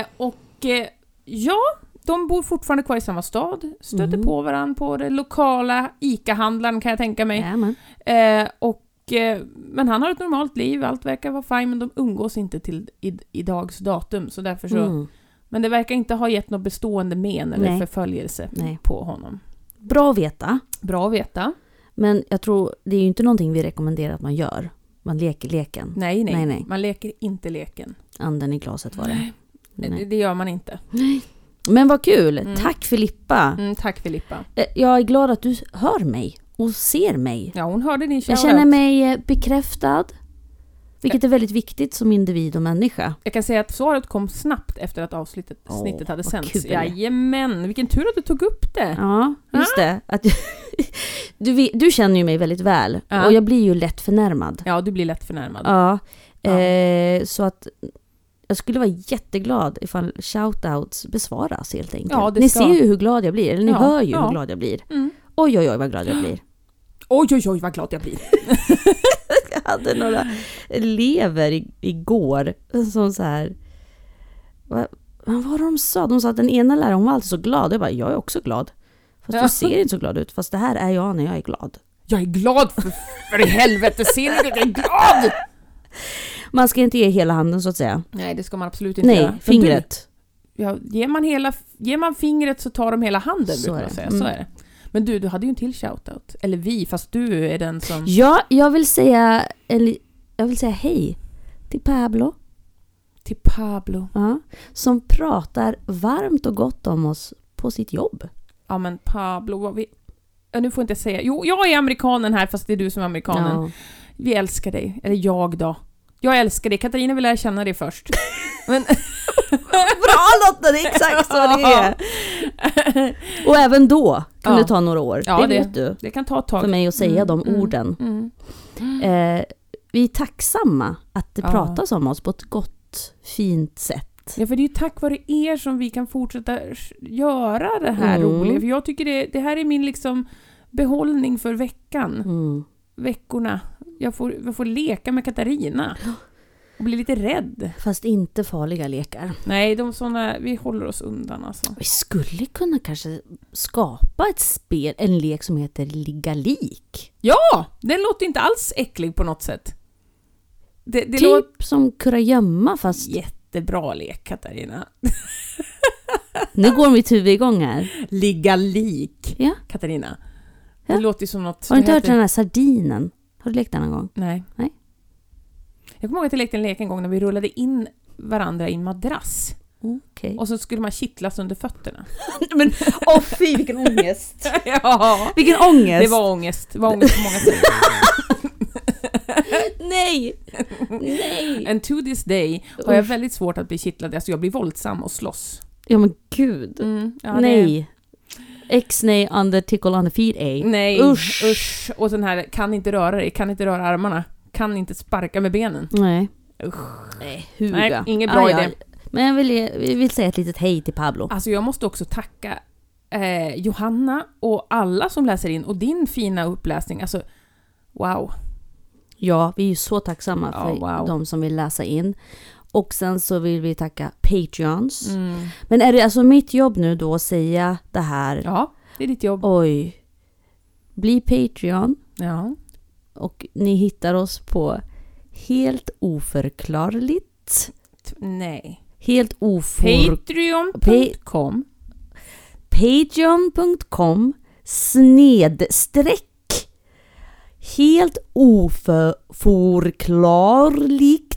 [SPEAKER 2] Eh, och eh, ja, de bor fortfarande kvar i samma stad. Stöter
[SPEAKER 3] Mhm.
[SPEAKER 2] på varandra på den lokala ICA-handlaren kan jag tänka mig.
[SPEAKER 3] Jajamän.
[SPEAKER 2] Eh, och, eh, men han har ett normalt liv, allt verkar vara fine men de umgås inte till i, i dags datum. Så därför så,
[SPEAKER 3] Mm.
[SPEAKER 2] Men det verkar inte ha gett något bestående men eller
[SPEAKER 3] Nej.
[SPEAKER 2] förföljelse
[SPEAKER 3] Nej.
[SPEAKER 2] på honom.
[SPEAKER 3] Bra att veta.
[SPEAKER 2] Bra att veta.
[SPEAKER 3] Men jag tror, det är ju inte någonting vi rekommenderar att man gör. Man leker leken.
[SPEAKER 2] Nej nej.
[SPEAKER 3] Nej, nej.
[SPEAKER 2] man leker inte leken.
[SPEAKER 3] Anden i glaset var det.
[SPEAKER 2] Det,
[SPEAKER 3] Nej.
[SPEAKER 2] det gör man inte.
[SPEAKER 3] Men vad kul!
[SPEAKER 2] Mm.
[SPEAKER 3] Tack Filippa!
[SPEAKER 2] Mm, tack Filippa.
[SPEAKER 3] Eh, Jag är glad att du hör mig och ser mig.
[SPEAKER 2] Ja, hon hörde din
[SPEAKER 3] Jag
[SPEAKER 2] shoutout.
[SPEAKER 3] känner mig eh, bekräftad. Vilket är väldigt viktigt som individ och människa.
[SPEAKER 2] Jag kan säga att svaret kom snabbt efter att avsnittet snittet hade
[SPEAKER 3] vad
[SPEAKER 2] sänts.
[SPEAKER 3] kul.
[SPEAKER 2] Jajamän, vilken tur att du tog upp det.
[SPEAKER 3] Ja, just det. Att, du, vet- du känner ju mig väldigt väl
[SPEAKER 2] Ja.
[SPEAKER 3] och jag blir ju lätt förnärmad.
[SPEAKER 2] Ja, du blir lätt förnärmad.
[SPEAKER 3] Ja.
[SPEAKER 2] Ja.
[SPEAKER 3] Eh, så att jag skulle vara jätteglad ifall shoutouts besvaras helt enkelt.
[SPEAKER 2] Ja, det
[SPEAKER 3] ni
[SPEAKER 2] ska.
[SPEAKER 3] ser ju hur glad jag blir, eller ni
[SPEAKER 2] Ja,
[SPEAKER 3] hör ju
[SPEAKER 2] ja.
[SPEAKER 3] hur glad jag blir.
[SPEAKER 2] Mm.
[SPEAKER 3] Oj, oj, oj vad glad jag blir.
[SPEAKER 2] Oj, oj, oj vad glad jag blir.
[SPEAKER 3] Jag hade några elever i, igår som så här... Vad, vad var det de sa? De sa att den ena läraren hon var alltid så glad. Jag bara, jag är också glad. Fast
[SPEAKER 2] Ja.
[SPEAKER 3] du ser inte så glad ut. Fast det här är jag när jag är glad.
[SPEAKER 2] Jag är glad för, för i helvete, ser ni det? Jag är glad!
[SPEAKER 3] Man ska inte ge hela handen så att säga.
[SPEAKER 2] Nej, det ska man absolut inte göra.
[SPEAKER 3] Nej,
[SPEAKER 2] Men
[SPEAKER 3] fingret.
[SPEAKER 2] Du, ja, ger, man hela, ger man fingret så tar de hela handen,
[SPEAKER 3] Så
[SPEAKER 2] brukar man
[SPEAKER 3] är det.
[SPEAKER 2] säga.
[SPEAKER 3] Mm.
[SPEAKER 2] Så är det. Men du, du hade ju en till shoutout. Eller vi, fast du är den som...
[SPEAKER 3] Ja, jag vill säga, en, li- jag vill säga hej till Pablo.
[SPEAKER 2] Till Pablo.
[SPEAKER 3] Ja, som pratar varmt och gott om oss på sitt jobb.
[SPEAKER 2] Ja, men Pablo, vad vi... Ja, nu får inte jag säga... Jo, jag är amerikanen här, fast det är du som är amerikanen.
[SPEAKER 3] Ja.
[SPEAKER 2] Vi älskar dig. Eller jag då. Jag älskar dig. Katarina vill lära känna dig först. Men...
[SPEAKER 3] Bra Lotta, det är exakt så det är! Och även då kan
[SPEAKER 2] Ja.
[SPEAKER 3] det ta några år.
[SPEAKER 2] Ja,
[SPEAKER 3] det,
[SPEAKER 2] det-
[SPEAKER 3] vet du.
[SPEAKER 2] Det kan ta ett
[SPEAKER 3] För
[SPEAKER 2] tag.
[SPEAKER 3] mig att säga de
[SPEAKER 2] Mm, mm.
[SPEAKER 3] orden.
[SPEAKER 2] Mm.
[SPEAKER 3] Eh, vi är tacksamma att det
[SPEAKER 2] Ja.
[SPEAKER 3] pratas om oss på ett gott, fint sätt.
[SPEAKER 2] Ja, för det är ju tack vare er som vi kan fortsätta s- göra det här
[SPEAKER 3] Mm.
[SPEAKER 2] roliga. För jag tycker det, det här är min liksom behållning för veckan,
[SPEAKER 3] Mm.
[SPEAKER 2] veckorna. Jag får, jag får leka med Katarina. Och bli lite rädd.
[SPEAKER 3] Fast inte farliga lekar.
[SPEAKER 2] Nej, de såna, vi håller oss undan alltså.
[SPEAKER 3] Vi skulle kunna kanske skapa ett spel, en lek som heter Ligga lik.
[SPEAKER 2] Ja! Den låter inte alls äcklig på något sätt. Det, det
[SPEAKER 3] typ
[SPEAKER 2] låter
[SPEAKER 3] som kurragömma fast
[SPEAKER 2] jättebra lek, Katarina.
[SPEAKER 3] nu går mitt huvud igång här.
[SPEAKER 2] Ligga lik,
[SPEAKER 3] Ja.
[SPEAKER 2] Katarina.
[SPEAKER 3] Ja.
[SPEAKER 2] Det låter ju som något...
[SPEAKER 3] Har du inte
[SPEAKER 2] det
[SPEAKER 3] hört
[SPEAKER 2] heter-
[SPEAKER 3] den här sardinen? Har du lekt den någon gång?
[SPEAKER 2] Nej.
[SPEAKER 3] Nej.
[SPEAKER 2] Jag kommer ihåg att jag lekte en lek en gång när vi rullade in varandra i en madrass.
[SPEAKER 3] Okej.
[SPEAKER 2] Och så skulle man kittlas under fötterna.
[SPEAKER 3] Men åh fy vilken ångest!
[SPEAKER 2] ja!
[SPEAKER 3] Vilken ångest!
[SPEAKER 2] Det var ångest. Det var ångest på många sätt.
[SPEAKER 3] Nej! Nej!
[SPEAKER 2] And to this day har jag väldigt svårt att bli kittlad. Alltså jag blir våldsam och slåss.
[SPEAKER 3] Ja men gud.
[SPEAKER 2] Ja, det-
[SPEAKER 3] Mm. nej. X nej on the tickle on the feet ej.
[SPEAKER 2] Nej.
[SPEAKER 3] Usch.
[SPEAKER 2] Usch. Och den här, kan inte röra dig, kan inte röra armarna, kan inte sparka med benen.
[SPEAKER 3] Nej.
[SPEAKER 2] Usch.
[SPEAKER 3] Nej, huga.
[SPEAKER 2] Nej, ingen bra idé.
[SPEAKER 3] Men jag vill, ge- vi vill säga ett litet hej till Pablo.
[SPEAKER 2] Alltså jag måste också tacka eh, Johanna och alla som läser in och din fina uppläsning. Alltså, wow.
[SPEAKER 3] Ja, vi är ju så tacksamma
[SPEAKER 2] Ja,
[SPEAKER 3] för
[SPEAKER 2] wow.
[SPEAKER 3] de som vill läsa in. Och sen så vill vi tacka Patreons.
[SPEAKER 2] Mm.
[SPEAKER 3] Men är det alltså mitt jobb nu då att säga det här?
[SPEAKER 2] Ja, det är ditt jobb.
[SPEAKER 3] Oj. Bli Patreon
[SPEAKER 2] Ja.
[SPEAKER 3] och ni hittar oss på helt oförklarligt.
[SPEAKER 2] T- Nej.
[SPEAKER 3] Helt ofor...
[SPEAKER 2] Patreon.com
[SPEAKER 3] Patreon.com snedstreck helt oförklarligt.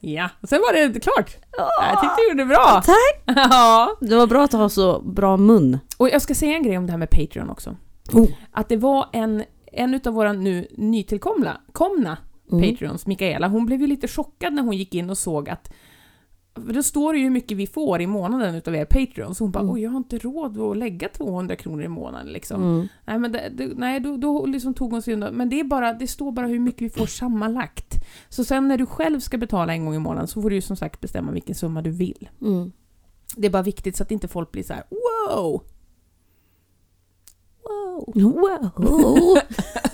[SPEAKER 2] Ja, och sen var det klart. Jag tyckte du gjorde det bra.
[SPEAKER 3] Tack!
[SPEAKER 2] Ja.
[SPEAKER 3] Det var bra att ha så bra mun.
[SPEAKER 2] Och jag ska säga en grej om det här med Patreon också.
[SPEAKER 3] Oh.
[SPEAKER 2] Att det var en, en utav våra nu nytillkomna komna
[SPEAKER 3] Mm.
[SPEAKER 2] Patreons, Mikaela, hon blev ju lite chockad när hon gick in och såg att för då står det ju hur mycket vi får i månaden utav er Patreons. Hon bara, oj jag har inte råd att lägga 200 kronor i månaden liksom.
[SPEAKER 3] Mm.
[SPEAKER 2] Nej, men det, det, nej då, då liksom tog hon sig undan. Men det, är bara, det står bara hur mycket vi får sammanlagt. Så sen när du själv ska betala en gång i månaden så får du ju som sagt bestämma vilken summa du vill.
[SPEAKER 3] Mm.
[SPEAKER 2] Det är bara viktigt så att inte folk blir så här: wow! Wow!
[SPEAKER 3] Wow!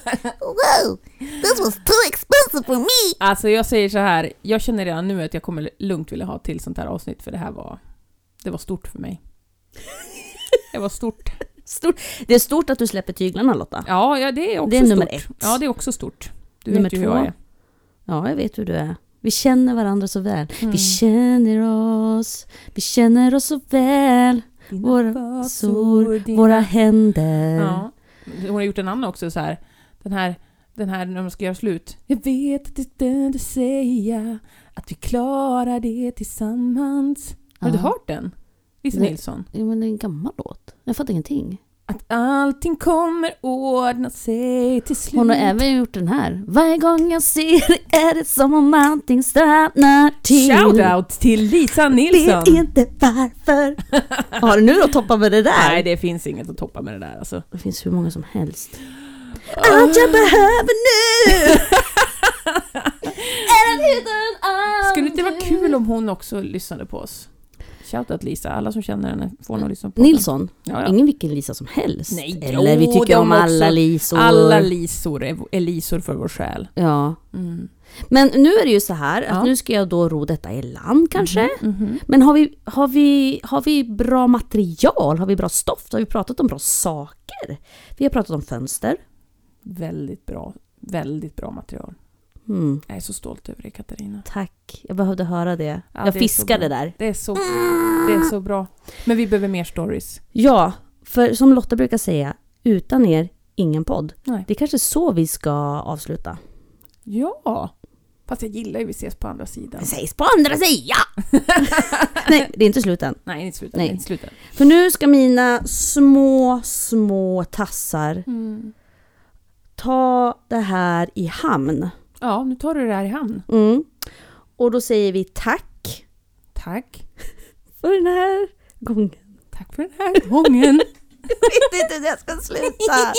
[SPEAKER 3] wow! This was too expensive for me!
[SPEAKER 2] Alltså jag säger så här, jag känner redan nu att jag kommer lugnt vilja ha till sånt här avsnitt för det här var, det var stort för mig. Det var stort.
[SPEAKER 3] Stort. Det är stort att du släpper tyglarna Lotta.
[SPEAKER 2] Ja, ja det är också
[SPEAKER 3] Det är nummer
[SPEAKER 2] stort.
[SPEAKER 3] ett.
[SPEAKER 2] Ja, det är också stort. Du
[SPEAKER 3] Nummer
[SPEAKER 2] vet ju hur jag
[SPEAKER 3] två.
[SPEAKER 2] är.
[SPEAKER 3] Ja, jag vet hur du är. Vi känner varandra så väl.
[SPEAKER 2] Mm.
[SPEAKER 3] Vi känner oss, vi känner oss så väl.
[SPEAKER 2] Dina
[SPEAKER 3] Våra
[SPEAKER 2] fasor, dina-
[SPEAKER 3] Våra händer.
[SPEAKER 2] Ja. Eh, Hon har gjort en annan också så här. Den här, den här när de ska göra slut. Jag vet att det inte säga att vi klarar det tillsammans. Har du
[SPEAKER 3] Ja.
[SPEAKER 2] hört den? Lisa
[SPEAKER 3] Nej.
[SPEAKER 2] Nilsson.
[SPEAKER 3] Jo, men det är en gammal låt. Jag fattar ingenting.
[SPEAKER 2] Att allting kommer ordna sig till slut.
[SPEAKER 3] Hon har även gjort den här. Varje gång jag ser dig är det som om allting stannar till.
[SPEAKER 2] Shoutout till Lisa Nilsson!
[SPEAKER 3] Vet inte varför. Vad Har du nu att toppa med det där?
[SPEAKER 2] Nej, det finns inget att toppa med det där alltså.
[SPEAKER 3] Det finns hur många som helst. Allt jag behöver nu är att utan allt.
[SPEAKER 2] Skulle det inte vara kul om hon också lyssnade på oss? Shoutout Lisa, alla som känner henne får nog lyssna på den.
[SPEAKER 3] Nilsson,
[SPEAKER 2] Ja, ja.
[SPEAKER 3] ingen vilken Lisa som helst.
[SPEAKER 2] Nej,
[SPEAKER 3] Eller vi
[SPEAKER 2] jo,
[SPEAKER 3] tycker
[SPEAKER 2] de
[SPEAKER 3] om alla
[SPEAKER 2] också.
[SPEAKER 3] Lisor.
[SPEAKER 2] Alla Lisor är, är Lisor för vår själ.
[SPEAKER 3] Ja.
[SPEAKER 2] Mm.
[SPEAKER 3] Men nu är det ju så här att
[SPEAKER 2] Ja.
[SPEAKER 3] nu ska jag då ro detta i land kanske.
[SPEAKER 2] Mhm.
[SPEAKER 3] Men har vi, har, vi, har vi bra material? Har vi bra stoft? Har vi pratat om bra saker? Vi har pratat om fönster.
[SPEAKER 2] Väldigt bra. Väldigt bra material.
[SPEAKER 3] Mm.
[SPEAKER 2] Jag är så stolt över dig Katarina.
[SPEAKER 3] Tack, jag behövde höra det.
[SPEAKER 2] Ja,
[SPEAKER 3] jag
[SPEAKER 2] det är så
[SPEAKER 3] fiskade
[SPEAKER 2] bra.
[SPEAKER 3] där.
[SPEAKER 2] Det är, så, det är så bra. Men vi behöver mer stories.
[SPEAKER 3] Ja, för som Lotta brukar säga, utan er, ingen podd.
[SPEAKER 2] Nej.
[SPEAKER 3] Det är kanske så vi ska avsluta.
[SPEAKER 2] Ja! Fast jag gillar ju Vi ses på andra sidan.
[SPEAKER 3] Det sägs på andra sidan! Nej, det är inte slut än.
[SPEAKER 2] Nej, inte slutet.
[SPEAKER 3] Nej.
[SPEAKER 2] Inte slutet.
[SPEAKER 3] För nu ska mina små, små tassar
[SPEAKER 2] Mm.
[SPEAKER 3] ta det här i hamn.
[SPEAKER 2] Ja, nu tar du det här i hamn.
[SPEAKER 3] Mm. Och då säger vi tack
[SPEAKER 2] Tack.
[SPEAKER 3] för den här gången.
[SPEAKER 2] Tack för den här gången.
[SPEAKER 3] vet inte hur jag ska sluta.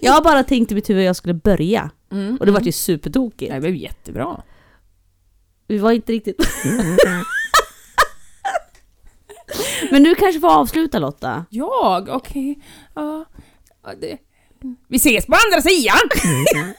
[SPEAKER 3] Jag bara tänkte i mitt huvud att jag skulle börja.
[SPEAKER 2] Mm.
[SPEAKER 3] Och det vart ju superdokigt.
[SPEAKER 2] Nej, Det blev jättebra.
[SPEAKER 3] Vi var inte riktigt... Men du kanske får avsluta Lotta.
[SPEAKER 2] Jag? Okej. Ja. Ja, det- Vi ses på andra sidan!